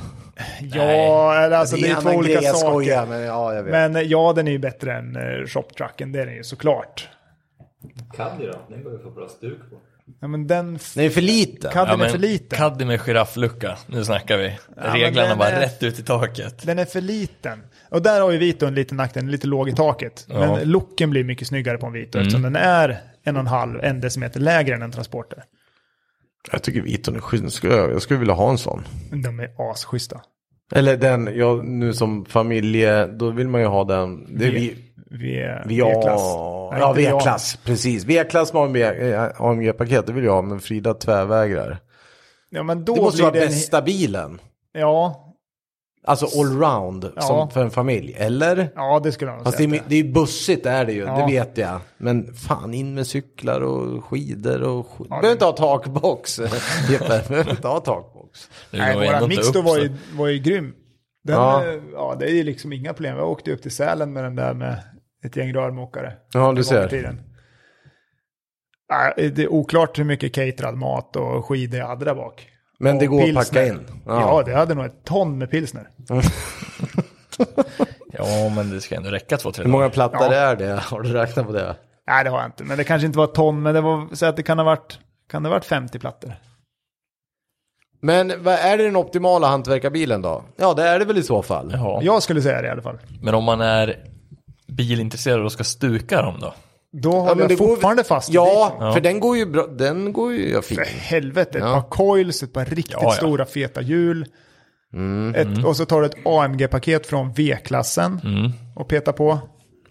S2: Ja, eller alltså det är,
S1: en Alltså,
S2: två
S1: annan
S2: olika
S1: grej, jag
S2: saker.
S1: skojar, men ja, jag vet.
S2: Men eh, ja, den är ju bättre än eh, shoptrucken, det är den ju såklart.
S4: Caddy då? Den går ju för bra stuk på.
S2: Ja, men den... f-
S1: Den är för liten.
S2: Caddien
S3: men
S2: är för liten.
S3: Caddy med girafflucka, nu snackar vi. Reglarna
S2: den
S3: bara
S2: är-
S3: rätt ut i taket.
S2: Den är för liten. Och där har ju Vito en liten nackdel, den är lite låg i taket. Men looken blir mycket snyggare på en Vito eftersom
S1: Mm.
S2: den är en och en halv, en decimeter lägre än en transporter.
S1: Jag tycker Viton är skitskö. Jag skulle vilja ha en sån.
S2: De är asschyssta.
S1: Eller den, ja, nu som familje, då vill man ju ha den. Det är vi,
S2: V-
S1: vi, ja,
S2: V-klass. Nej,
S1: Ja,
S2: inte VA.
S1: V-klass. Precis. V-klass med AMG, eh, AMG-paket, det vill jag ha. Men Frida tvärvägrar.
S2: Ja, men då
S1: Det måste
S2: blir
S1: vara
S2: det en-
S1: bästa bilen.
S2: Ja,
S1: Alltså allround
S2: Ja.
S1: som för en familj. Eller?
S2: ja, det skulle jag nog
S1: Fast det
S2: säga.
S1: är,
S2: att
S1: det är ju bussigt är det ju,
S2: Ja.
S1: det vet jag. Men fan in med cyklar och skidor och skit. Du
S2: det-
S1: behöver inte ha takbox. Jeppe, du behöver inte ha takbox.
S3: Det
S2: det är.
S3: går ju
S2: Nej,
S3: ändå
S2: våran
S3: inte
S2: mix då
S3: upp,
S2: var
S3: så-
S2: ju, var ju grym. Den,
S1: Ja.
S2: ja. ja, det är ju liksom inga problem. Jag åkte ju upp till Sälen med den där med ett gäng rörmokare.
S1: Ja, du
S2: en gång i
S1: ser.
S2: tiden. Nej, Det är oklart hur mycket caterad mat och skidor jag hade där bak.
S1: Men det
S2: Och
S1: går att
S2: pilsner.
S1: packa in.
S2: Ja. det hade nog ett ton med pilsner.
S3: Ja, men det ska ändå räcka två, tre
S1: Hur
S3: dagar.
S1: många plattar är det? Har du räknat på det?
S2: Nej, det har jag inte. Men det kanske inte var ett ton, men det var så att det kan ha varit, kan det ha varit 50 plattor.
S1: Men vad är det den optimala hantverkarbilen då? Ja, det är det väl i så fall.
S3: Ja.
S2: Jag skulle säga det i alla fall.
S3: Men om man är bilintresserad och ska stuka dem då?
S2: Då håller
S1: Ja, men
S2: jag
S1: går-
S2: fortfarande fast i
S1: Ja,
S2: Viton.
S1: ja, för den går ju bra. Den går ju ja, fint.
S2: För helvete, ett
S1: Ja.
S2: par coils, ett par riktigt
S3: Ja, ja.
S2: stora feta hjul.
S1: Mm.
S2: Ett, och så tar du ett AMG-paket från V-klassen och petar på.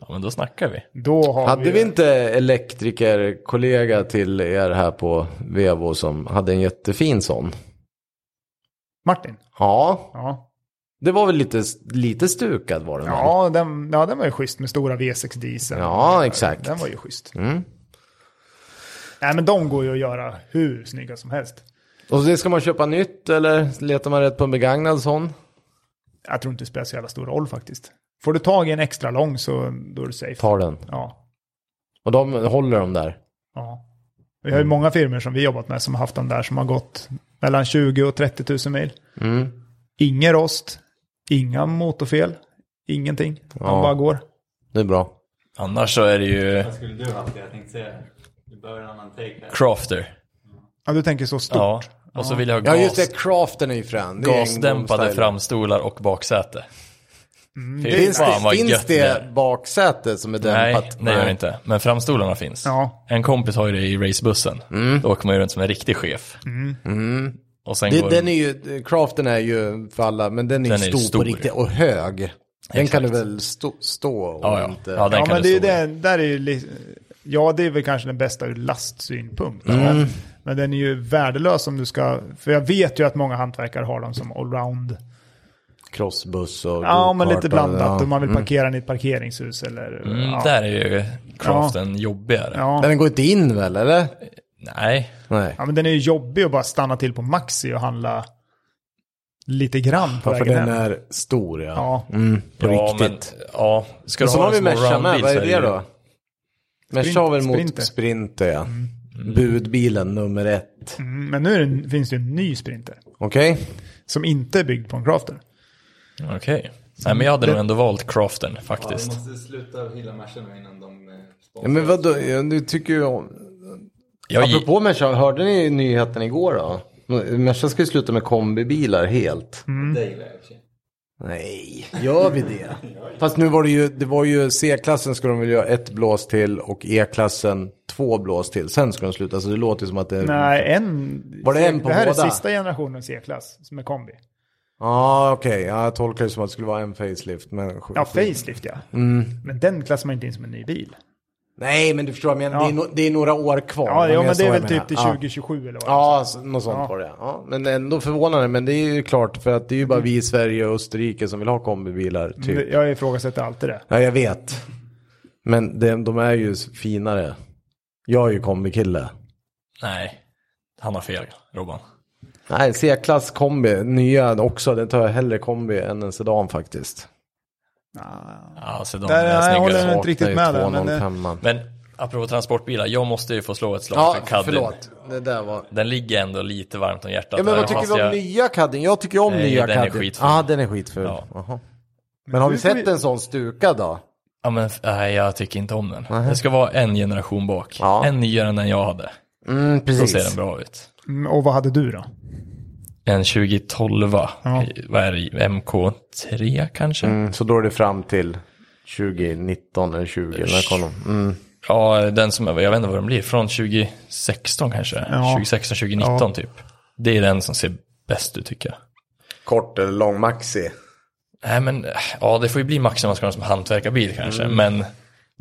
S3: Ja, men då snackar vi.
S2: Då har
S1: Hade
S2: vi,
S1: vi inte elektrikerkollega till er här på Vevo som hade en jättefin sån?
S2: Martin.
S1: Ja,
S2: Ja,
S1: det var väl lite, lite stukad var den. väl?
S2: ja, den, ja den var ju schysst med stora V6 diesel.
S1: ja exakt.
S2: Den var ju schysst.
S1: Mm.
S2: Nej, men de går ju att göra hur snygga som helst.
S1: Och det ska man köpa nytt eller letar man rätt på en begagnad sån?
S2: Jag tror inte det spelar så jävla stor roll faktiskt. Får du tag i en extra lång så då är du safe.
S1: Tar den.
S2: Ja,
S1: Och de håller de där.
S2: ja. Vi har ju många firmor som vi jobbat med som har haft dem där som har gått mellan 20 och 30 000 mil.
S1: Mm.
S2: Ingen rost, inga motorfel, ingenting. De
S1: Ja.
S2: bara går.
S1: Det är bra.
S3: Annars så är det ju
S4: Vad skulle du haft? Jag tänkte säga det. Du behöver en annan take där.
S3: crafter.
S2: Ja, du tänker så stort.
S3: Ja. Och så vill jag ha
S1: Ja
S3: gas,
S1: just det, craften är ju frän. Det är
S3: gasdämpade
S1: engångsstyle.
S3: framstolar och baksäte.
S2: Mm.
S3: Fy
S1: Finns
S3: fan
S1: det,
S3: vad
S1: finns
S3: gött det är.
S1: det baksäte som är
S3: Nej,
S1: dämpat?
S3: det gör det inte. Men framstolarna finns.
S2: Ja. Mm.
S3: En kompis har ju det i racebussen. Då åker man ju runt som en riktig chef. Och sen
S1: Mm. Det,
S3: går,
S1: den är ju, craften är ju för alla, men den är,
S3: Den är
S1: ju stor,
S3: stor.
S1: på riktigt och hög. Den kan du väl stå, stå och
S3: ja, ja.
S1: inte...
S3: ja, den
S2: Ja,
S3: kan
S2: men
S3: du
S2: det är
S3: stå
S2: ju
S3: i.
S2: det, där är ju li- ja, det är väl kanske den bästa ur lastsynpunkt. Men, men den är ju värdelös om du ska, för jag vet ju att många hantverkare har dem som allround.
S1: Crossbuss och
S2: Ja, men lite
S1: go-kartar,
S2: blandat.
S1: ja.
S2: Om man vill parkera den i ett parkeringshus eller...
S3: Mm,
S2: ja.
S3: Där är ju craften jobbigare.
S2: Ja.
S1: Men Den går inte in väl, eller?
S3: Nej,
S1: Nej.
S2: ja, men den är ju jobbig att bara stanna till på Maxi och handla lite grann på
S1: Ja, för
S2: vägen
S1: den
S2: hem.
S1: är stor, ja.
S2: Ja.
S1: Mm, på
S3: ja,
S1: riktigt.
S3: Men, ja. Ska
S1: Men,
S3: du
S1: så
S3: ha
S1: har vi
S3: en small
S1: Merca med,
S3: roundbil
S1: vad
S3: så
S1: är det
S3: ju-
S1: då? Merca har väl mot
S2: Sprinter.
S1: Sprinter, ja. Mm. Budbilen nummer ett.
S2: Mm, Men nu är det, finns det ju en ny Sprinter.
S1: Okej?
S2: Som inte är byggd på en crafter.
S3: Okej. Nej, men jag hade nog ändå valt craften
S4: Ja, vi
S3: faktiskt.
S4: måste sluta hylla Merca nu innan de eh,
S1: Ja,
S4: sponsrar.
S1: men vadå, ja, du tycker ju om...
S3: Jag, gi-
S1: Apropå Merca, hörde ni nyheten igår då? Merca ska ju sluta med kombibilar helt.
S2: Mm.
S4: Det gillar jag i och för sig.
S1: Nej, gör vi det? Fast nu var det ju, det var ju C-klassen skulle de väl göra ett blås till och E-klassen två blås till. Sen ska de sluta, så det låter ju som att det...
S2: Nej, en...
S1: Var det en på
S2: Det här är
S1: båda?
S2: sista generationen C-klass som är kombi.
S1: Ja, okej. Ja, jag tolkar det som att det skulle vara en facelift. Men...
S2: Ja, facelift ja.
S1: Mm.
S2: Men den klassar man inte in som en ny bil.
S1: Nej, men du förstår vad jag menar.
S2: Ja.
S1: Det, är no- det är några år kvar.
S2: Ja, ja
S1: jag
S2: men det
S1: så
S2: är
S1: jag
S2: väl typ till
S1: menar.
S2: 2027 eller vad
S1: Ja, ja något sånt
S2: Ja.
S1: var det. Ja, men ändå förvånande. Men det är ju klart, för att det är ju bara vi i Sverige och Österrike som vill ha kombibilar. Typ.
S2: Mm. det är. Jag ifrågasätter alltid det.
S1: Ja, jag vet. Men det, de är ju finare. Jag är ju kombikille.
S3: Nej, han har fel, Robban.
S1: Nej, C-klass kombi, nya också. Den tar jag hellre kombi än en sedan faktiskt.
S3: Ja, sedan
S2: Där-
S3: är
S2: jag
S3: snyggare.
S2: håller- är inte riktigt med där, men, eh,
S1: men...
S3: Men apropå transportbilar, jag måste ju få slå ett slag
S1: Ja,
S3: för Caddy.
S1: förlåt. Det där var...
S3: Den ligger ändå lite varmt om hjärtat.
S1: Ja, men
S3: även
S1: vad tycker
S3: fast
S1: vi om
S3: jag-
S1: nya Caddien? Jag tycker om
S3: Nej,
S1: nya
S3: den är
S1: Caddien.
S3: skitful.
S1: Ja, ah, den är skitful.
S3: Ja.
S1: Jaha. Men har vi
S2: nu ska
S1: sett
S2: vi-
S1: en sån stukad då?
S3: Ja, men f- nej, jag tycker inte om den. Det ska vara en generation bak.
S1: Ja.
S3: En nyare än den jag hade.
S1: Mm,
S3: Då ser
S1: precis.
S3: den bra ut.
S2: Mm, Och vad hade du då?
S3: En 2012, i- vad är det, i MK3 kanske?
S1: Mm, så då är det fram till 2019 eller 20. När kom de? Mm.
S3: Ja, den som, jag vet inte vad den blir, från 2016 kanske?
S2: Ja.
S3: 2016, 2019 typ. Det är den som ser bäst ut tycker jag.
S1: Kort eller lång maxi?
S3: Nej men, eh, ja det får ju bli max om man ska ha den som hantverkarbil kanske,
S1: Mm.
S3: men,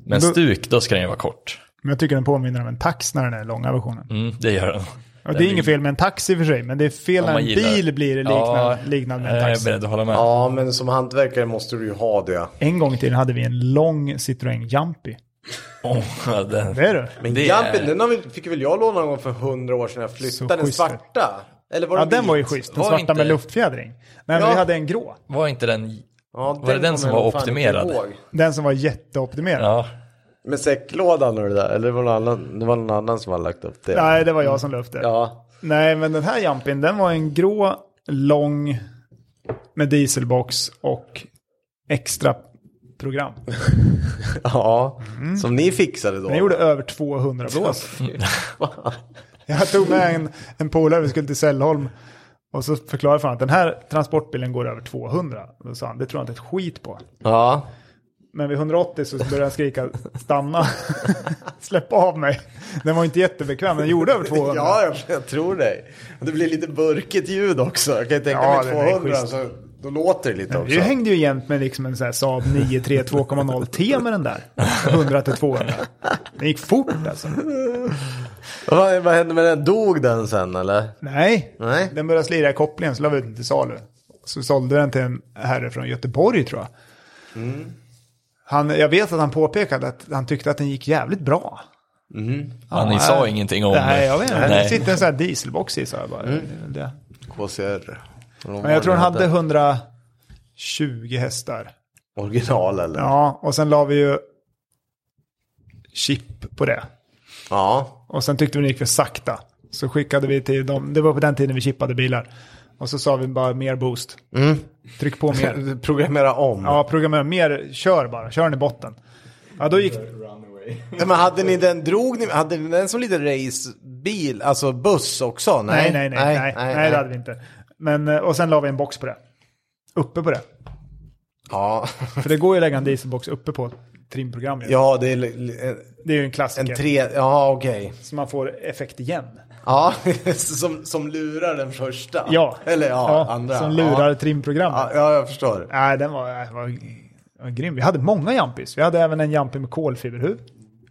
S3: men
S2: Då-
S3: stuk, då ska den ju vara kort.
S2: Men jag tycker den påminner om en tax när den är långa versionen.
S3: Mm, det gör den.
S2: Och det är inget fel med en taxi för sig, men det är fel
S3: Om
S2: när en
S3: man gillar-
S2: bil blir liknande,
S3: Ja,
S2: liknande med en
S3: Jag är
S2: taxi.
S3: beredd att hålla med.
S1: Ja, men som hantverkare måste du ju ha det.
S2: En gång till hade vi en lång Citroën Jumpy.
S3: Åh, den.
S2: Det är du.
S1: Men
S3: Det
S1: Jumpin,
S3: är-
S1: den har vi- fick väl jag låna någon gång för hundra år sedan. Jag
S2: Så
S1: flyttade den
S2: schysst.
S1: svarta. Eller var
S2: Ja,
S1: den
S2: den var ju
S1: vit?
S2: schysst. Den
S3: Var
S2: svarta
S3: inte-
S2: med luftfjädring. Nej, men
S1: Ja.
S2: vi hade en grå.
S3: Var inte den,
S1: Ja,
S3: var det den som
S1: kommer jag
S3: var
S1: fan inte
S3: optimerad?
S1: ihåg.
S2: Den som var jätteoptimerad.
S3: Ja,
S1: Med säcklådan och det där? Eller var det, någon annan, det var någon annan som hade lagt upp det?
S2: Nej, det var jag som la upp det.
S1: Ja.
S2: Nej, men den här jumpin, den var en grå, lång med dieselbox och extra program.
S1: Ja, som ni fixade då.
S2: Den Mm. gjorde över 200 blås. Jag tog med en, en polare, vi skulle till Sällholm. Och så förklarade för honom att den här transportbilen går över 200. Då sa han, det tror jag inte ett skit på.
S1: Ja.
S2: Men vid 180 så började han skrika, stanna, släpp av mig. Den var inte jättebekväm, men den gjorde över 200.
S1: Ja, jag, jag tror dig. Det blir lite burkigt ljud också. Jag kan ju tänka
S2: Ja,
S1: mig
S2: det är
S1: 200,
S2: schysst.
S1: så då låter det lite också.
S2: Vi hängde ju jämt med liksom en sån här Saab 9-3 2,0 T med den där. 100 till 200. Den gick fort alltså.
S1: Vad, vad hände med den? Dog den sen eller?
S2: Nej,
S1: Nej.
S2: den började slira i kopplingen så la vi ut den till salu. Så sålde den till en herre från Göteborg tror jag.
S1: Mm.
S2: Han, jag vet att han påpekade att han tyckte att den gick jävligt bra.
S3: han
S2: Ja,
S3: sa
S2: äh,
S3: ingenting om
S2: Nej, jag vet inte. Det
S3: Nej.
S2: sitter en sån här dieselbox i sa jag bara.
S1: Mm.
S2: Det.
S1: KCR.
S2: Men jag tror den hade 120 hästar.
S1: Original eller?
S2: Ja, och sen la vi ju chip på det.
S1: Ja.
S2: Och sen tyckte vi det gick för sakta. Så skickade vi till dem, det var på den tiden vi chippade bilar. Och så sa vi bara mer boost. Tryck på mer.
S1: Programmera om.
S2: Ja, programmera mer, kör bara, kör den i botten. Ja, då gick
S4: Runaway.
S1: Nej, Men hade ni den, drog ni, hade ni den som lite racebil, alltså buss också?
S2: Nej, nej, nej, nej, nej, det hade vi inte. Men, eh, och sen la vi en box på det. Uppe på det.
S1: Ja,
S2: För det går ju att lägga en dieselbox uppe på trimprogrammet.
S1: ja det är li- li- en,
S2: Det är ju en klassiker.
S1: en tre, ja okej.
S2: Så man får effekt igen.
S1: Ja, som, som lurar den första.
S2: Ja.
S1: Eller ja, andra.
S2: Som lurar
S1: Ja.
S2: trimprogrammet.
S1: Ja, ja, jag förstår.
S2: Nej, den var, äh, var, var grym. Vi hade många jampis. Vi hade även en jampi med kolfiberhuv.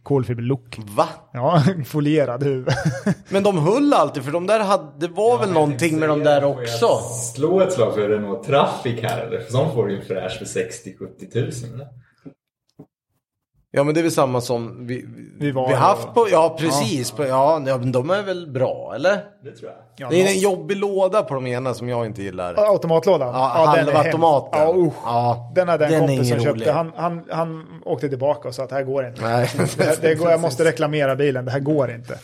S2: Kolfiberlock.
S1: Va?
S2: Ja, folierad huv.
S1: Men de höll alltid, för de där hade, det var väl någonting med de där
S4: Får jag
S1: också?
S4: Slå ett slag för Renault Traffic här eller? För de får ju en fräsch för 60-70 tusen eller?
S1: Ja, men det är väl samma som vi,
S2: Vi var-
S1: vi haft på, ja precis, ja. På, ja, ja, men de är väl bra, eller?
S4: Det tror jag.
S2: Ja,
S1: Det är en jobbig låda på de ena som jag inte gillar.
S2: Ja, Automatlådan.
S1: Ja,
S2: den är
S1: halva
S2: hemsk.
S1: tomaten.
S2: Ja, usch.
S1: Ja,
S2: Den hade en
S1: den är
S2: kompis som
S1: ingen rolig.
S2: köpte. Han, han, han åkte tillbaka och sa att det här går inte.
S1: Nej.
S2: Det, här- det går, jag måste reklamera bilen, det här går inte.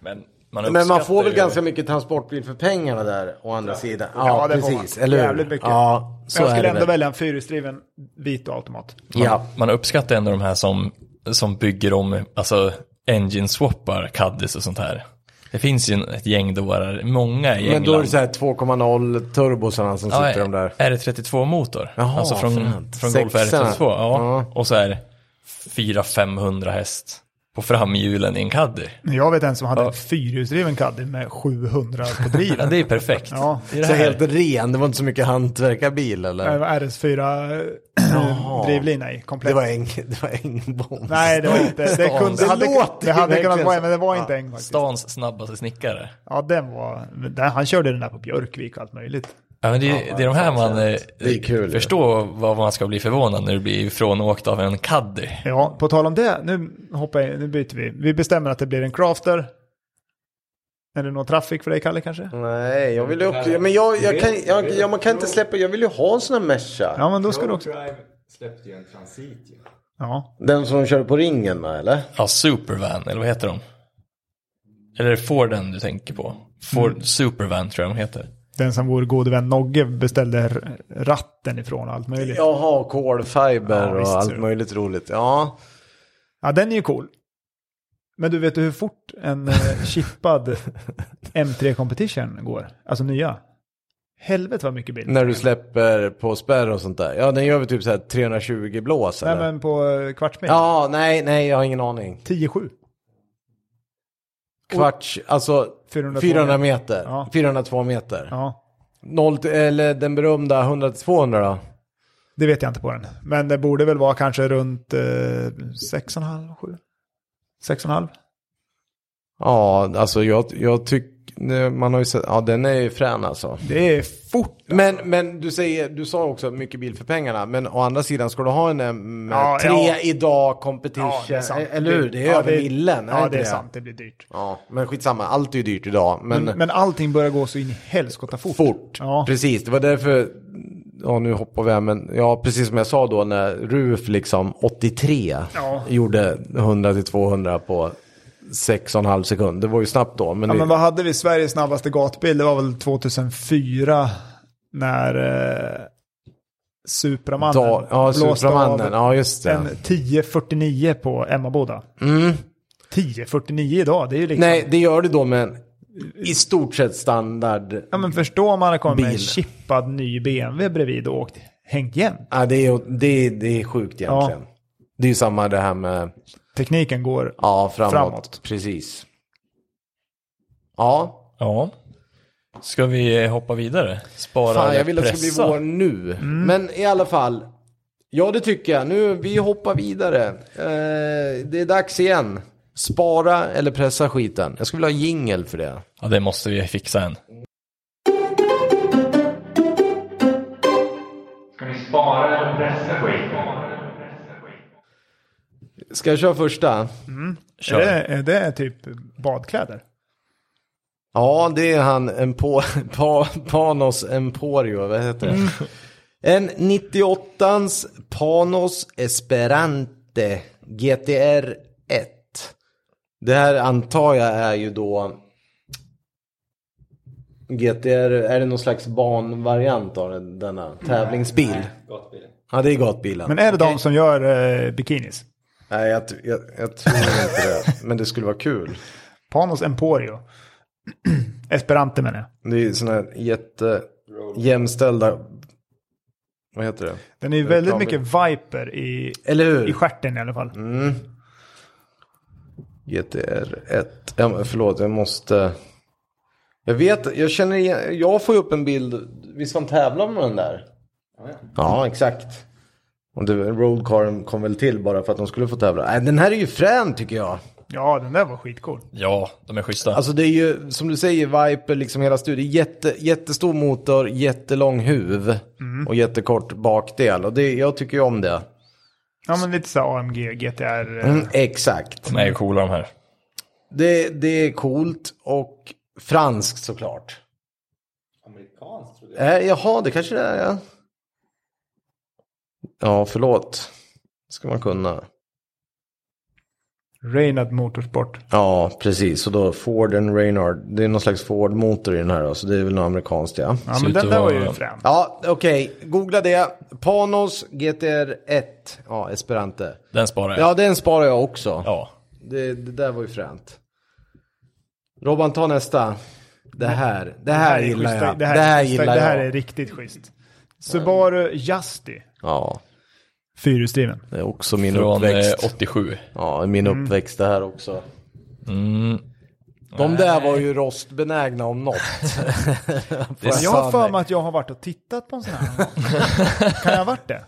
S3: Men man,
S1: Men man
S3: uppskattar
S1: får väl
S3: ju-
S1: ganska mycket transportbil för pengarna där, å andra sidan. Ja,
S2: Ja, det får
S1: precis.
S2: man.
S1: Eller hur?
S2: Jävligt mycket.
S1: Ja,
S2: Men
S1: så
S2: jag
S1: är
S2: skulle
S1: det
S2: ändå
S1: väl.
S2: välja en fyrhjulsdriven vito automat.
S1: Ja.
S3: Man uppskattar ändå de här som, som bygger om, alltså engine swappar, caddies och sånt här. Det finns ju en- ett gäng dårar, många i
S1: Men
S3: England.
S1: då är det så här 2,0 turbosarna som
S3: Ja,
S1: sitter de där.
S3: R32-motor.
S1: Jaha,
S3: alltså från,
S1: fränt.
S3: från Golf R32.
S1: Sexan.
S3: Ja.
S1: Ja.
S3: Och så här 400-500 häst på framhjulen i en caddy.
S2: Men Jag vet en som hade
S3: Ja.
S2: en fyrhjulsdriven Caddy med 700 på
S3: Ja,
S2: driven.
S3: det är perfekt.
S2: Ja.
S3: Det är det
S1: Så
S3: här.
S1: helt ren, det var inte så mycket hantverkarbil
S2: Äh, Det
S1: eller?
S2: var RS4
S1: Jaha.
S2: drivlänga i komplett.
S1: Det var eng, det var engboms.
S2: Nej, det var inte. Det,
S1: Stans.
S2: kunde,
S1: Det
S2: hade,
S1: låter
S2: det
S1: ju
S2: hade kunnat
S1: verkligen
S2: vara
S1: så.
S2: men det var
S1: Ja.
S2: inte en faktiskt.
S3: Stans snabbaste snickare.
S2: Ja, den var... Den, han körde den där på Björkvik och allt möjligt.
S3: Ja, men det, är- det är de här man eh,
S1: Det är kul, ja.
S3: förstår vad man ska bli förvånad när du blir ifrånåkt av en caddy.
S2: Ja, på tal om det, nu hoppar jag, in, nu byter vi. Vi bestämmer att det blir en crafter. Är det någon traffic för dig, Kalle, kanske?
S1: Nej, jag vill ju upp... Men jag, jag kan, jag, jag, man kan inte släppa... Jag vill ju ha en sån här Merca.
S2: Ja, men då ska du också...
S4: Drive släppte ju en Transit ju.
S2: Ja,
S1: Den som de körde på ringen med eller?
S3: Ja, Supervan, eller vad heter de? Eller är det Forden du tänker på? Ford
S1: Mm.
S3: Supervan tror jag de heter.
S2: den som vår gode vän Nogge beställde r- ratten ifrån och allt möjligt. Ja,
S1: Jaha, kolfiber
S2: Ja,
S1: och
S2: visst, ser
S1: allt
S2: du.
S1: möjligt roligt. Ja.
S2: den är ju cool. Men du vet du hur fort en eh, chippad M3 Competition går? Alltså nya. Helvete vad mycket bil.
S1: När du släpper på spärr och sånt där. Ja, den gör väl typ så här 320 blås
S2: Nej,
S1: eller?
S2: men på eh, kvartsmil.
S1: Ja, nej, nej, jag har ingen aning.
S2: 10-7.
S1: Kvarts, alltså
S2: 402
S1: 400 meter.
S2: Ja.
S1: 402 meter.
S2: Ja,
S1: Noll, till- eller den berömda 100-200 då?
S2: det vet jag inte på den. Men det borde väl vara kanske runt eh, 6,5, 7. 6,5.
S1: Ja, alltså jag, jag tycker, man har ju sett, ja den är ju frän alltså.
S2: Det är fort. alltså.
S1: Men, men du, säger, du sa också mycket bil för pengarna, men å andra sidan ska du ha en M3
S2: Ja, ja.
S1: idag competition, eller hur? Det är
S2: ja,
S1: över millen,
S2: Ja,
S1: inte
S2: det är sant. Mm. Det blir dyrt.
S1: Ja, men skitsamma, allt är ju dyrt idag. Men,
S2: Men, men allting börjar gå så in i helskotta fort.
S1: fort,
S2: Ja.
S1: precis, det var därför, ja nu hoppar vi här, men ja precis som jag sa då när RUF liksom 83
S2: Ja.
S1: gjorde 100-200 på 6,5 sekund, det var ju snabbt då. Men
S2: Ja,
S1: det-
S2: men vad hade vi Sveriges snabbaste gatbil? Det var väl 2004 när eh, Supramannen
S1: Da, ja, Supramannen. Ja, just det.
S2: en 1049 på Emmaboda.
S1: Mm.
S2: 1049 idag, det är ju liksom...
S1: Nej, det gör det då med en i stort sett standard.
S2: Ja, men förstå om man hade kommit med en
S1: Bil.
S2: chippad ny BMW bredvid och åkt, hängt igen.
S1: Ja, det, är, det, är, det är sjukt egentligen. Det är ju samma det här med
S2: Tekniken går...
S1: ja, framåt.
S2: Framåt.
S1: Precis. Ja,
S3: Ja. Ska vi eh, hoppa vidare? Spara
S1: fan
S3: eller
S1: jag vill att det ska bli
S3: pressa?
S1: vår nu. Men i alla fall. Ja, det tycker jag. Nu, vi hoppar vidare. Eh, det är dags igen. Spara eller pressa skiten. Jag skulle vilja ha jingel för det.
S3: Ja, det måste vi fixa en.
S5: Ska ni spara eller pressa skiten?
S1: Ska jag köra första?
S2: Är
S3: Kör.
S2: det, är det typ badkläder?
S1: Ja, det är han Empo, pa, Panos Emporio, vad heter det? En 98ans Panos Esperante GTR 1. Det här antar jag är ju då GTR, är det någon slags banvariant av den- denna tävlingsbil?
S4: Gott bil.
S1: Ja, det är gatbilen.
S2: Men är det de som gör eh, bikinis?
S1: Nej, jag, tr- jag, jag tror inte det. Men det skulle vara kul.
S2: Panos Emporio. Esperante menar jag.
S1: Det är ju sådana här jättejämställda, vad heter det?
S2: Den är ju väldigt mycket viper i,
S1: Eller hur?
S2: i stjärten i alla fall.
S1: Mm. GTR 1. Ja, men förlåt, jag måste. Jag vet, jag känner igen, jag får ju upp en bild. Visst var han tävlade med den där? Ja, exakt. Och det, roadcaren kom väl till bara för att de skulle få tävla. Nej, den här är ju frän tycker jag.
S2: Ja, den där var skitcool.
S3: Ja, de är schyssta.
S1: Alltså det är ju, som du säger, Viper, liksom hela studien. Jätte, jättestor motor, jättelång huv och jättekort bakdel. Och det, jag tycker ju om det.
S2: Ja, men lite så här AMG, GTR. eh,
S1: Mm, exakt.
S3: de är ju coola de här.
S1: Det, det är coolt och franskt såklart.
S4: Amerikanskt trodde jag.
S1: Äh, jaha, det kanske det är ja. Ja, förlåt. Ska man kunna.
S2: Reynard Motorsport.
S1: Ja, precis. Och då Ford and Reynard. Det är någon slags Ford-motor i den här då, så det är väl något amerikanskt ja.
S2: Ja,
S3: Ser
S2: men
S3: ut
S2: den
S3: att
S2: där var
S3: vara-
S2: ju frän.
S1: Ja, okej. Googla det. Panos GTR 1. Ja, Esperante.
S3: Den sparar jag.
S1: Ja, den sparar jag också.
S3: Ja.
S1: Det, det där var ju fränt. Robban, ta nästa. Det här. Det här gillar
S2: schyssta-
S1: jag.
S2: Det här, är schyssta-
S1: gillar jag. Mm.
S2: Det här är riktigt schysst. Subaru Justy.
S1: Ja,
S2: Fyrhjulsdriven.
S1: det är också min
S3: Från eh,
S1: uppväxt.
S3: 87.
S1: Ja, min uppväxt det här också.
S3: Mm.
S1: De där var ju rostbenägna om något.
S3: Det är
S2: Jag har
S1: Fan,
S2: för
S1: nej.
S2: mig att jag har varit och tittat på en sån här. kan jag ha varit det?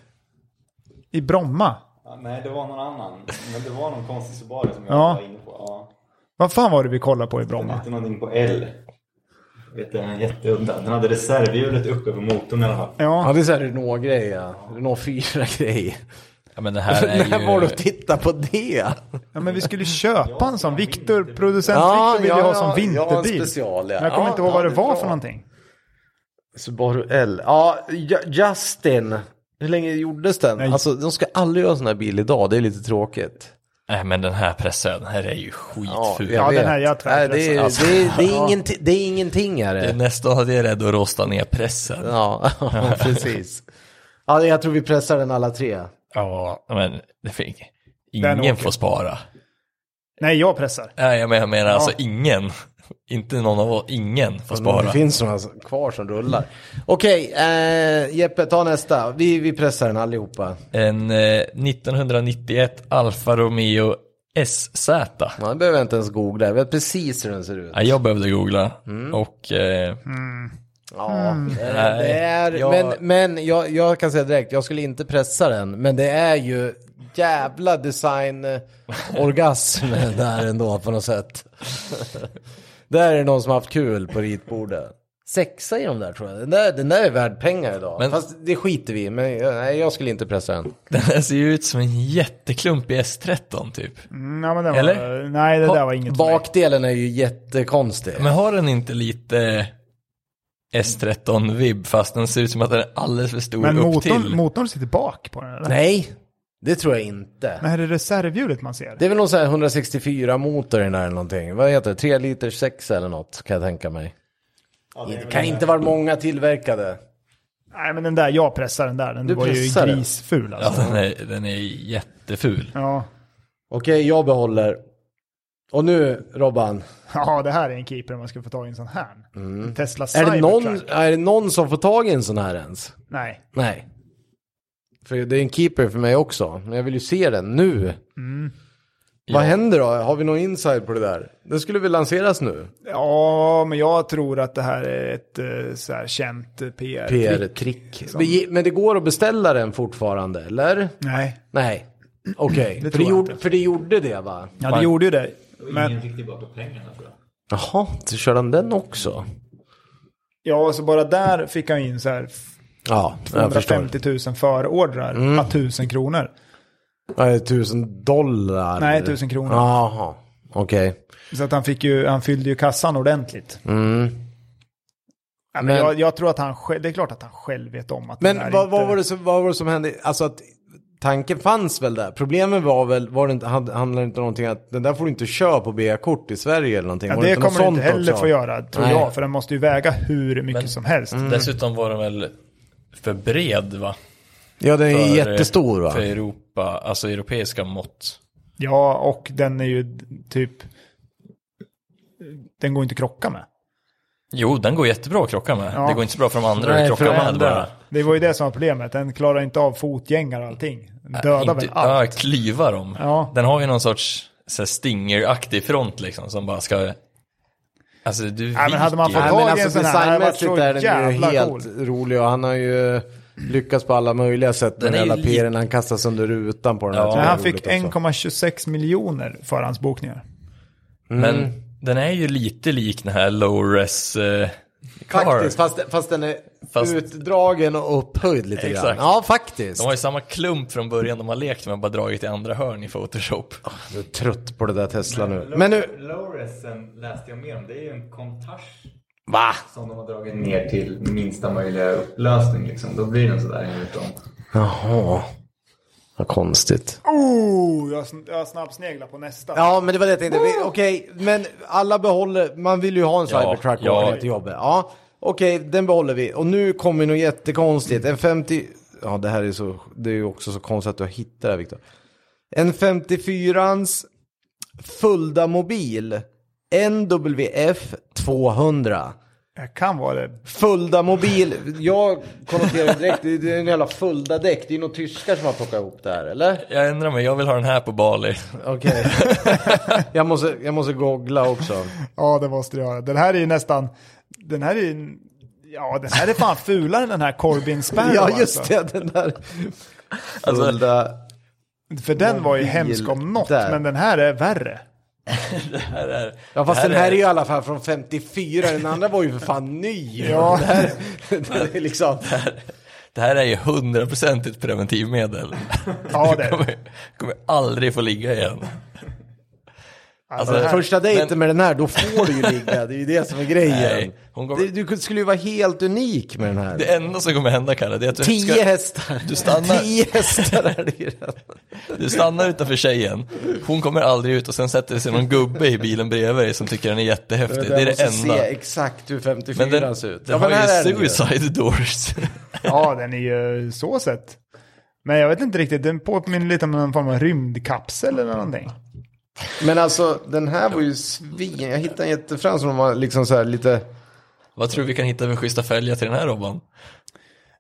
S2: I Bromma?
S4: Ja, nej, det var någon annan. Men det var någon konstig Subaru som jag
S2: Ja.
S4: var inne på. Ja.
S2: Vad fan var det vi kollade på i
S4: Den
S2: Bromma?
S4: hette någonting på L. Vet du, den är jätteudda. Den hade reservhjulet uppe på motorn i alla fall.
S1: Ja,
S2: Ja,
S1: det är så här Renault-grej. Ja. Renault 4-grej.
S3: Ja, men det här är ju...
S1: När var du och tittade på det?
S2: ja, men vi skulle köpa en sån. Viktor, producent
S1: Ja,
S2: Viktor ville
S1: ja,
S2: ha
S1: ja,
S2: som
S1: ja, en
S2: vinterbil.
S1: special, ja.
S2: Men jag kommer
S1: Ja,
S2: inte ihåg
S1: ja,
S2: vad det
S1: det är
S2: var
S1: bra.
S2: för någonting.
S1: Subaru L. Ja, Ju- Justin. Hur länge gjordes den?
S2: Nej.
S1: Alltså, de ska aldrig göra en sån här bil idag. Det är lite tråkigt.
S3: Nej, men den här pressen, den här är ju skitful.
S2: Ja, den
S1: vet.
S2: här jag
S1: Nej, det, är,
S2: tvärpressar.
S1: det, är, det, är ingenting, det är ingenting är
S3: Det är
S1: det.
S3: nästan att jag är rädd att rosta ner pressen.
S1: Ja, precis. Ja, jag tror vi pressar den alla tre.
S3: Ja, men det fick...
S2: Den
S3: Ingen
S2: åker.
S3: får spara.
S2: Nej, jag pressar.
S3: Nej, jag menar, jag menar alltså ingen. Inte någon av oss, ingen får
S1: Men Mm, Det
S3: spara.
S1: finns några kvar som rullar. Okej, eh, Jeppe, ta nästa. Vi, vi pressar den allihopa.
S3: En eh, 1991 Alfa Romeo SZ.
S1: Man behöver jag inte ens googla. Jag vet precis hur den ser ut.
S3: Ja, jag behövde googla
S2: Mm.
S3: och eh,
S1: Ja, det är, det
S3: Nej,
S1: är,
S3: jag-
S1: Men, men jag, jag kan säga direkt, jag skulle inte pressa den. Men det är ju jävla designorgasm där ändå på något sätt. där är det någon som har haft kul på ritbordet. Sexa i de där tror jag. Den där, den där är värd pengar idag.
S3: Men-
S1: Fast det skiter vi i, Men jag, nej, jag skulle inte pressa den.
S3: den här ser ju ut som en jätteklump i S13 typ.
S2: Mm, ja, men den
S3: Eller?
S2: Var, nej, det där var inget för mig.
S1: Bakdelen är ju jättekonstig.
S3: Men har den inte lite S13-vibb fast den ser ut som att den är alldeles för stor
S2: Men
S3: upp
S2: motorn,
S3: till?
S2: motorn sitter bak på den eller?
S1: Nej, det tror jag inte.
S2: Men här är reservhjulet man ser.
S1: Det är väl någon sån här 164 motor i den där eller någonting. Vad heter det? 3 liters 6 eller något kan jag tänka mig.
S4: Ja, det är
S1: Det
S4: väl
S1: kan inte vara många tillverkade.
S2: Nej, men den där, jag pressar den där. Den
S1: Du
S2: var ju
S1: pressar den?
S2: grisful
S3: Ja,
S2: alltså.
S3: den är, den är jätteful.
S2: Ja.
S1: Okej, jag behåller. Och nu Robban,
S2: ja, det här är en keeper man ska få tag i en sån här. En Tesla
S1: är det, någon,
S2: Cybertruck.
S1: är det någon som får tag i en sån här ens?
S2: Nej.
S1: Nej. För det är en keeper för mig också, men jag vill ju se den nu. Mm. Vad händer då? Har vi någon inside på det där? Det skulle väl lanseras nu?
S2: Ja, men jag tror att det här är ett eh, så här känt eh, PR.
S1: PR-trick. Men det går att beställa den fortfarande, eller?
S2: Nej,
S1: Nej. Okej, för, det
S2: tror jag
S1: gjorde-
S2: inte.
S1: för det gjorde det va?
S2: ja, det gjorde ju det. Men
S4: Ingen fick tillbaka pengarna tror jag.
S1: Jaha, så kör han den också?
S2: ja, så bara där fick han in så här
S1: Ja, jag förstår.
S2: 150 000 förordrar mm. 1000 kronor.
S1: Nej, tusen dollar?
S2: Nej, 1000 kronor.
S1: Jaha, okej.
S2: Så att han, fick ju, han fyllde ju kassan ordentligt. Ja, men
S1: Mm. Men-
S2: jag, jag tror att han själv, det är klart att han själv vet om att den
S1: Men
S2: här
S1: vad,
S2: inte-
S1: vad, var det som, vad var det som hände? Alltså att tanken fanns väl där. Problemet var väl, var det inte, hand- handlade inte om någonting att den där får du inte köra på B-kort i Sverige eller någonting.
S2: Ja,
S1: var
S2: det
S1: inte något
S2: kommer du inte
S1: sånt
S2: heller
S1: också?
S2: få göra, tror
S1: Nej.
S2: jag. För den måste ju väga hur mycket
S3: Men- Mm.
S2: som helst.
S1: Mm.
S3: Dessutom var den väl för bred va?
S1: Ja, den är
S3: För, eh,
S1: jättestor va?
S3: För Europa, alltså europeiska mått.
S2: Ja, och den är ju d- typ... Den går inte att krocka med.
S3: Jo, den går jättebra att krocka med.
S2: Ja.
S3: Det går inte så bra för de andra
S1: Nej,
S3: att
S1: för
S3: krocka
S1: de
S3: med
S1: andra.
S3: bara.
S2: Det var ju det som var problemet. Den klarar inte av fotgängar och allting. Den dödar väl
S3: Inte-
S2: allt.
S3: Ja, klyva dem.
S2: Ja.
S3: Den har ju någon sorts så här, stinger-aktig front liksom som bara ska... Alltså du
S2: men hade man
S3: viker.
S2: fått-
S1: Nej, men
S2: Tag i en
S1: alltså
S2: sån här, den hade varit
S1: designmässigt
S2: så
S1: är den ju
S2: jävla
S1: helt
S2: cool.
S1: rolig och han har ju lyckats på alla möjliga sätt med
S3: Den är
S1: den där
S3: ju
S1: piren han kastas under rutan på den här.
S3: Ja.
S1: tycker
S2: Men
S1: jag är
S2: han
S1: roligt
S2: fick
S1: också.
S2: 1,26 miljoner förhandsbokningar.
S1: Mm.
S3: Men den är ju lite lik den här low-res... Eh, car.
S1: Faktiskt, fast, fast den är
S3: Fast-
S1: utdragen och upphöjd lite grann.
S3: Exakt.
S1: Ja, faktiskt.
S3: De har ju samma klump från början de har lekt med, bara dragit i andra hörn i Photoshop.
S1: Jag är trött på det där Tesla nu. Men nu...
S4: Loresen läste jag mer om. Det är ju en kontasch
S1: Va?
S4: som de har dragit ner till minsta möjliga upplösning. Liksom. Då blir den sådär enligt dem.
S1: Jaha. Vad konstigt.
S2: Oh, jag, sn- jag snabbsneglar på nästa.
S1: Ja, men det var det jag tänkte. Vi- Okej, men alla behåller... Man vill ju ha en
S3: Ja,
S1: cybertruck och
S3: ja.
S1: åka till jobbet. Ja, okej, den behåller vi. Och nu kommer något jättekonstigt. En 50... Ja, det här är så... Det är ju också så konstigt att du hittar det här, Viktor. En 54ans fullda mobil. NWF 200.
S2: Jag kan vara det.
S1: Fulda mobil. Jag konnoterar direkt, det är en jävla Fulda däck. Det är nog tyskar som har plockat ihop det här, eller?
S3: Jag ändrar mig, jag vill ha den här på Bali.
S1: Okej. jag, måste, jag måste googla också.
S2: Ja, det måste du göra. Den här är ju nästan... Den här är ju... Ja, den här är fan fulare än den här Corbin Sparrow.
S1: Ja, just
S2: alltså.
S1: det. Den där Alltså, Fulda.
S2: För den var ju
S1: Mobil
S2: hemsk om något,
S1: där.
S2: men den här är värre.
S3: Här är,
S1: Ja, fast
S3: det
S1: den här är ju i alla fall från 54. Den andra var ju för fan ny.
S2: Ja.
S1: Det här, det är liksom...
S3: Det här är ju hundraprocentigt preventivmedel.
S2: Ja, det är
S3: Du kommer, kommer aldrig få ligga igen.
S2: Alltså,
S3: Alltså,
S2: den här,
S1: Första dejten med den här, då får du ju ligga. Det är ju det som är grejen.
S3: Nej, hon går-
S1: Det- Du skulle ju vara helt unik med den här.
S3: Det enda som kommer hända Kalle, det är att du,
S1: Tio
S3: ska,
S1: hästar.
S3: du stannar.
S1: Tio hästar är det ju redan.
S3: du stannar utanför tjejen, hon kommer aldrig ut och sen sätter sig någon gubbe i bilen bredvid dig som tycker den är jättehäftig. Det är det
S1: Jag måste
S3: enda.
S1: se exakt hur 54
S3: Men den,
S1: ser ut.
S3: den
S1: men här
S3: har
S1: är den
S3: ju
S1: ju.
S3: suicide doors.
S2: ja, den är ju så sett. Men jag vet inte riktigt, den påminner lite om någon form av rymdkapsel eller någonting.
S1: Men alltså den här var ju svin. Jag hittade en jättefram som var liksom så här lite.
S3: Vad tror du vi kan hitta för schyssta fälgar till den här Robban?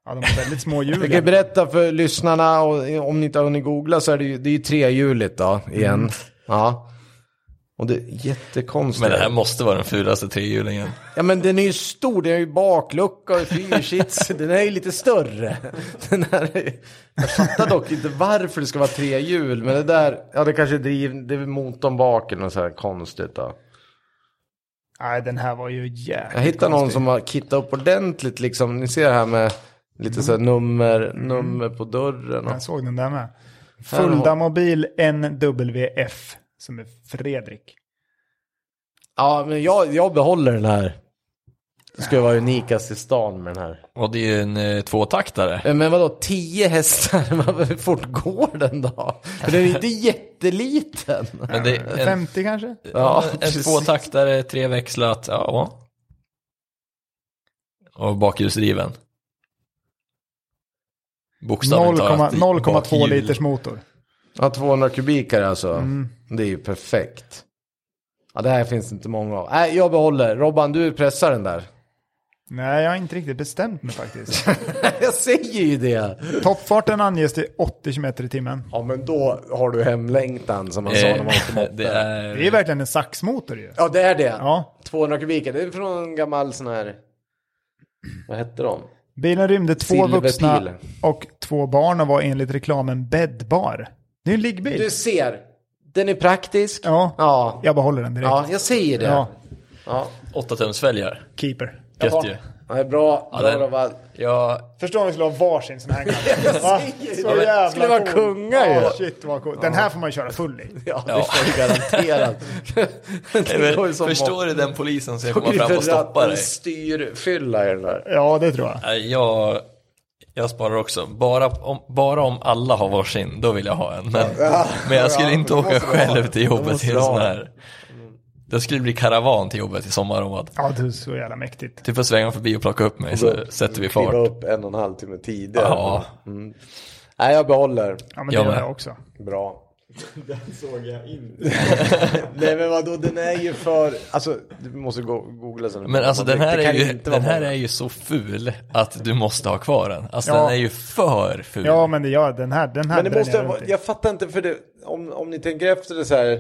S2: Ja, de har väldigt små hjul.
S1: Jag kan ju berätta för lyssnarna och om ni inte har hunnit googla så är det ju, det är ju trehjuligt då igen. Ja. Och det är jättekonstigt.
S3: Mm. Men det här måste vara den fulaste trehjulingen.
S1: Ja men den är ju stor, den har ju baklucka och fyrsits. den är ju lite större. Den här är... Jag fattar dock inte varför det ska vara tre hjul. Men det där, ja det kanske är driv, det är väl motorn bak eller något så här konstigt då.
S2: Nej, den här var ju jävligt
S1: Jag hittade någon
S2: konstig.
S1: som har kittat upp ordentligt liksom. Ni ser här med lite så här nummer, nummer på dörren. Och...
S2: Jag såg den där med.
S1: har-
S2: Fulda mobil NWF, som är Fredrik.
S1: Ja men jag, jag behåller den här. Det ska ju vara unikast i stan med den här.
S3: Och det är ju en eh, tvåtaktare.
S1: Eh, Men vadå, 10 hästar? Hur fort går den då? För den är inte jätteliten.
S3: Men det är en,
S2: 50 kanske?
S1: Ja,
S3: en
S1: precis.
S3: tvåtaktare, treväxlat, ja. Och bakhjulsdriven. Bokstavligt
S2: 0,2
S3: talat.
S2: 0,2
S3: bakhjul.
S2: liters motor.
S1: Ja, 200 kubikare alltså.
S2: Mm.
S1: Det är ju perfekt. Ja, det här finns inte många av. Nej, jag behåller. Robban, du pressar den där.
S2: Nej, jag har inte riktigt bestämt mig faktiskt.
S1: jag säger ju det.
S2: Toppfarten anges till 80 km i timmen.
S1: Ja, men då har du hemlängtan som man sa när man åkte
S3: Eh,
S1: moppe.
S3: det är...
S2: Det är verkligen en saxmotor ju.
S1: Ja, det är det.
S2: Ja,
S1: 200 kubikare. Det är från en gammal sån här... Vad hette de?
S2: bilen rymde två
S1: Silverpil.
S2: vuxna och två barn och var enligt reklamen bäddbar. Det är en liggbil.
S1: Du ser. Den är praktisk.
S2: Ja.
S1: Ja,
S2: Jag behåller den direkt.
S1: ja jag säger det.
S2: Ja.
S1: Ja. Ja,
S3: 8-tumsfälgar.
S2: Keeper.
S3: Gött ju.
S1: det är bra. bra
S3: den-
S1: Robban.
S3: Ja,
S2: Förstår om vi skulle ha varsin sån här gammal. Va?
S1: säger
S2: Så
S1: det.
S2: jävla
S1: Skulle vara
S2: cool.
S1: kungar ju.
S2: Ja, shit vad cool. Den här får man ju köra full i.
S1: Ja, det
S3: Ja.
S1: får du garanterat. det går ju som
S3: förstår du den polisen som kommer fram och stoppar dig?
S1: styrfylla i den där.
S2: Ja, det tror jag.
S3: Nej, Jag, Jag sparar också. Bara om, bara om alla har varsin, då vill jag ha en. Men, men jag skulle
S1: ja,
S3: inte
S1: då
S3: åka
S1: måste du ha
S3: själv
S1: den.
S3: till
S1: Då
S3: jobbet
S1: måste
S3: i en
S1: du ha
S3: sån
S1: den.
S3: här. Det skulle bli karavan till jobbet i sommar om att
S2: Ja, det är så jävla mäktigt.
S3: du får svänga förbi och plocka upp mig så sätter vi
S1: Alltså, Kliva
S3: fart.
S1: upp en och en halv timme tidigare.
S3: Ja.
S1: Mm. Nej, jag behåller.
S2: Ja, men
S3: Jag
S2: det gör
S3: med.
S2: jag också.
S1: Bra.
S4: Den såg jag inte.
S1: Nej men vadå, den är ju för... Alltså, du måste go- googla sen.
S3: Men alltså
S1: Det
S3: den här,
S1: kan
S3: är ju,
S1: inte vara
S3: den här
S1: många.
S3: är ju så ful att du måste ha kvar den. Alltså
S2: Ja.
S3: den är ju för ful.
S2: Ja, men det gör den här. Den här
S1: Men det
S2: dräller
S1: måste
S2: jag
S1: vara,
S2: runt i.
S1: jag fattar inte för det, om, om ni tänker efter det så här. Jag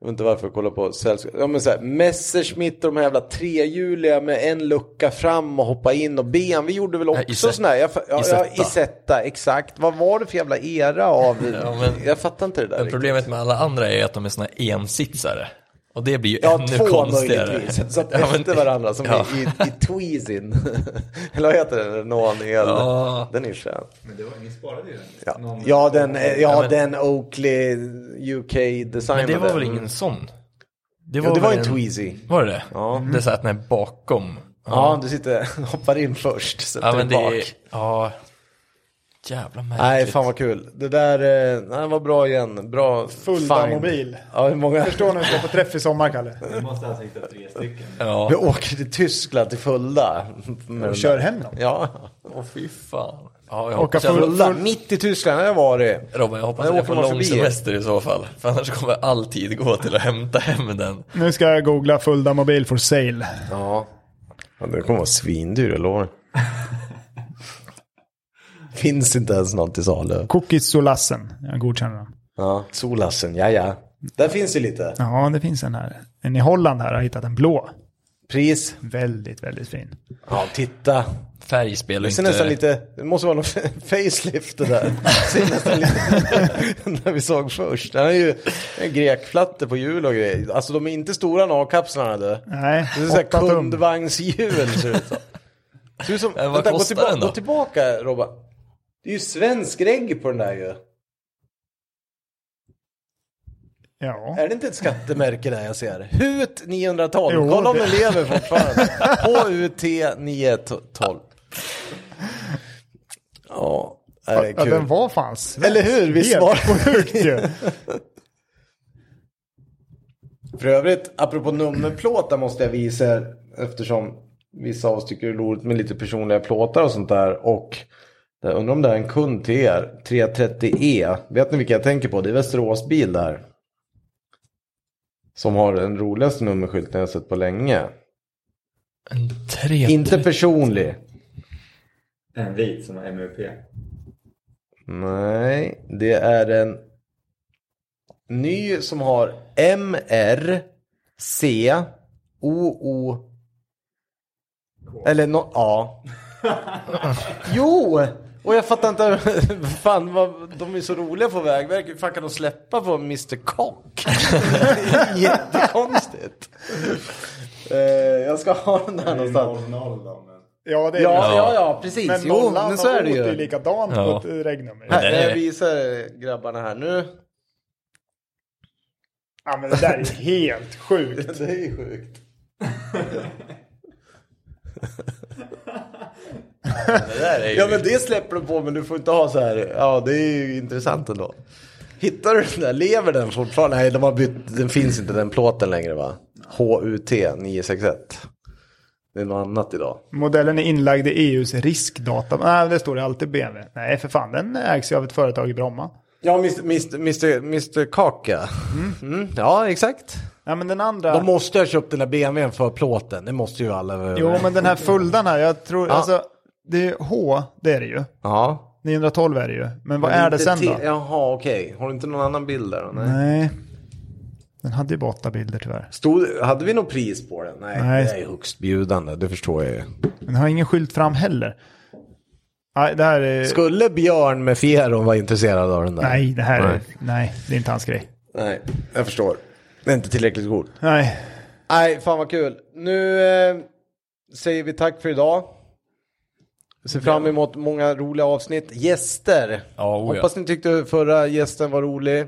S1: vet inte varför jag kollar på sällskap. Ja men så här, Messerschmitt och de här jävla trehjuliga med en lucka fram och hoppa in och BMW gjorde väl också
S3: Isetta.
S1: sådana här. Jag, fa- ja, ja,
S3: Isetta.
S1: Isetta, exakt. Vad var det för jävla era av?
S3: Ja, men-
S1: jag fattar inte det där.
S3: Men problemet med alla andra är att de är såna ensitsare. Och det blir ju
S1: Ja,
S3: ännu
S1: två
S3: konstigare.
S1: möjligtvis. Så att
S3: Ja, men-
S1: efter varandra som
S3: ja.
S1: i, i, i Tweezin. Eller vad heter den? Renault el.
S3: Ja.
S1: Den är skön.
S4: Men det var, ni sparade ju den.
S1: Ja,
S4: Någon-
S1: ja, den, eh, ja,
S3: Ja, men-
S1: den Oakley UK-designen.
S3: Men det var väl ingen sån? Det
S1: Ja, det var
S3: väl
S1: en Tweezy.
S3: Var det det? Mm.
S1: Ja.
S3: Det satt den här bakom.
S1: Ja, du sitter, hoppar in först, sätter
S3: Ja,
S1: dig
S3: men det är...
S1: bak.
S3: Ja. Jävla märkligt.
S1: Nej, fan vad kul. Det där eh, nej, var bra igen. Bra
S2: Full av
S1: find.
S2: mobil.
S1: Ja, hur många?
S2: Förstår när du ska på träff i sommar, Kalle.
S4: Du måste alltså hitta tre stycken.
S3: Ja.
S1: Vi åker till Tyskland till Fulda. Med
S2: Och
S1: den
S2: kör
S1: där.
S2: hem dem.
S1: Ja,
S3: Åh fy fan. Ja, jag
S2: Åka
S3: hoppas jag,
S2: full-
S1: Fulda. Mitt i Tyskland har jag varit.
S3: Robin, jag hoppas
S1: Ja,
S3: att jag
S1: åker
S3: får
S1: man
S3: lång
S1: förbi.
S3: semester i så fall. För annars kommer all tid gå till att hämta hem den.
S2: Nu ska jag googla Fulda mobil for sale.
S1: Ja. ja det kommer vara svindyr, jag lovar. Finns inte ens något i salu.
S2: Cookies Solassen. Jag godkänner den.
S1: Ja, Solassen, ja ja. Där finns det lite.
S2: Ja, det finns en här. En i Holland här har hittat en blå.
S1: Pris.
S2: Väldigt, väldigt fin.
S1: Ja, titta.
S3: Färg spelar
S1: Det
S3: inte...
S1: ser nästan lite, det måste vara någon facelift det där. Det ser nästan lite, när vi såg först. Den är ju en grekplatta på hjul och grejer. Alltså de är inte stora nav-kapslarna du.
S2: Nej,
S1: Det är såhär
S2: åtta tum.
S1: kundvagnshjul ser det ut som. Ser ut som,
S3: Men Eh, vad
S1: vänta, gå,
S3: kostar
S1: tillbaka,
S3: den då?
S1: gå tillbaka Robban. Det är ju svensk regg på den där ju.
S2: Ja.
S1: Är det inte ett skattemärke där jag ser? HUT 912.
S2: Jo,
S1: Kolla om
S2: det-
S1: den lever fortfarande. HUT 912. Ja, det är
S2: Ja,
S1: kul.
S2: den var fan svensk.
S1: Eller hur? Vi
S2: Helt
S1: svarar-
S2: sjukt ju.
S1: För övrigt, apropå nummerplåtar måste jag visa er eftersom vissa av oss tycker det är roligt med lite personliga plåtar och sånt där. Och jag undrar om det är en kund till er, 330E. Vet ni vilka jag tänker på? Det är Västerås bil där. Som har den roligaste nummerskylten jag sett på länge.
S3: En tre...
S1: Inte personlig.
S4: En vit som har MUP.
S1: Nej, det är en ny som har MR C OO eller nå A. jo, och jag fattar inte. Fan, vad, de är så roliga på Vägverket. Hur fan kan de släppa på Mr Cock? Det är Jättekonstigt. Eh, jag ska ha den
S4: Det
S1: här
S4: är
S1: någonstans.
S4: 00 då, men...
S2: Ja, det är det.
S1: Ja, ja, ja, precis.
S2: Men
S1: jo,
S2: nollan
S1: men så är det
S2: och
S1: ju.
S2: åt är likadant
S3: Ja.
S2: på ett regnummer.
S1: Här,
S3: Den är-
S1: jag visar grabbarna här nu.
S2: Ja, men det där är helt sjukt.
S1: Det är ju sjukt.
S3: Det där är ju...
S1: Ja men det släpper du på men du får inte ha så här. Ja det är ju intressant ändå. Hittar du den där? Lever den fortfarande? Nej de har bytt. Den finns inte den plåten längre va? HUT 961. Det är något annat idag.
S2: Modellen är inlagd i EUs riskdata. Nej, det står det alltid BMW. Nej, för fan, den ägs ju av ett företag i Bromma.
S1: Ja Mr. Mr. Mr. Mr. Kaka. Mm, ja exakt.
S2: Ja, men den andra...
S1: De måste ju ha köpt den där BMWn för plåten. Det måste ju alla vara
S2: Jo,
S1: överens
S2: men den här Fuldan här, jag tror...
S1: Ja.
S2: Alltså, det är H, det är det ju.
S1: Ja.
S2: 912 är det ju. Men vad är det
S1: Inte
S2: sen
S1: till-
S2: då?
S1: Jaha okej. Har du inte någon annan bild där? då? Nej.
S2: Nej. Den hade ju bara åtta bilder tyvärr.
S1: Stod, hade vi något pris på den? Nej,
S2: Nej.
S1: det är ju högstbjudande, det förstår jag ju.
S2: Men den har ingen skylt fram heller. Nej, det här är...
S1: Skulle Björn med Fieron vara intresserad av den där?
S2: Nej, det här är...
S1: Nej,
S2: Nej, det är inte hans grej.
S1: Nej jag förstår. Det är inte tillräckligt god.
S2: Nej.
S1: Nej, fan vad kul. Nu eh, säger vi tack för idag. Jag ser fram emot många roliga avsnitt. Gäster.
S3: Oh, Ja, oja.
S1: Hoppas ni tyckte förra gästen var rolig.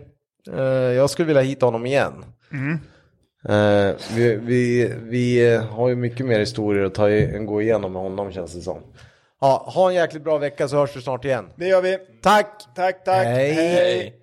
S1: Eh, jag skulle vilja hitta honom igen.
S3: Mm.
S1: Eh, vi, vi, vi eh, har ju mycket mer historier att ta i, gå igenom med honom känns det som. Ja, ha en jäkligt bra vecka så hörs vi snart igen.
S2: Det gör vi.
S1: Tack!
S2: Tack, tack.
S1: Hej.
S3: Hej.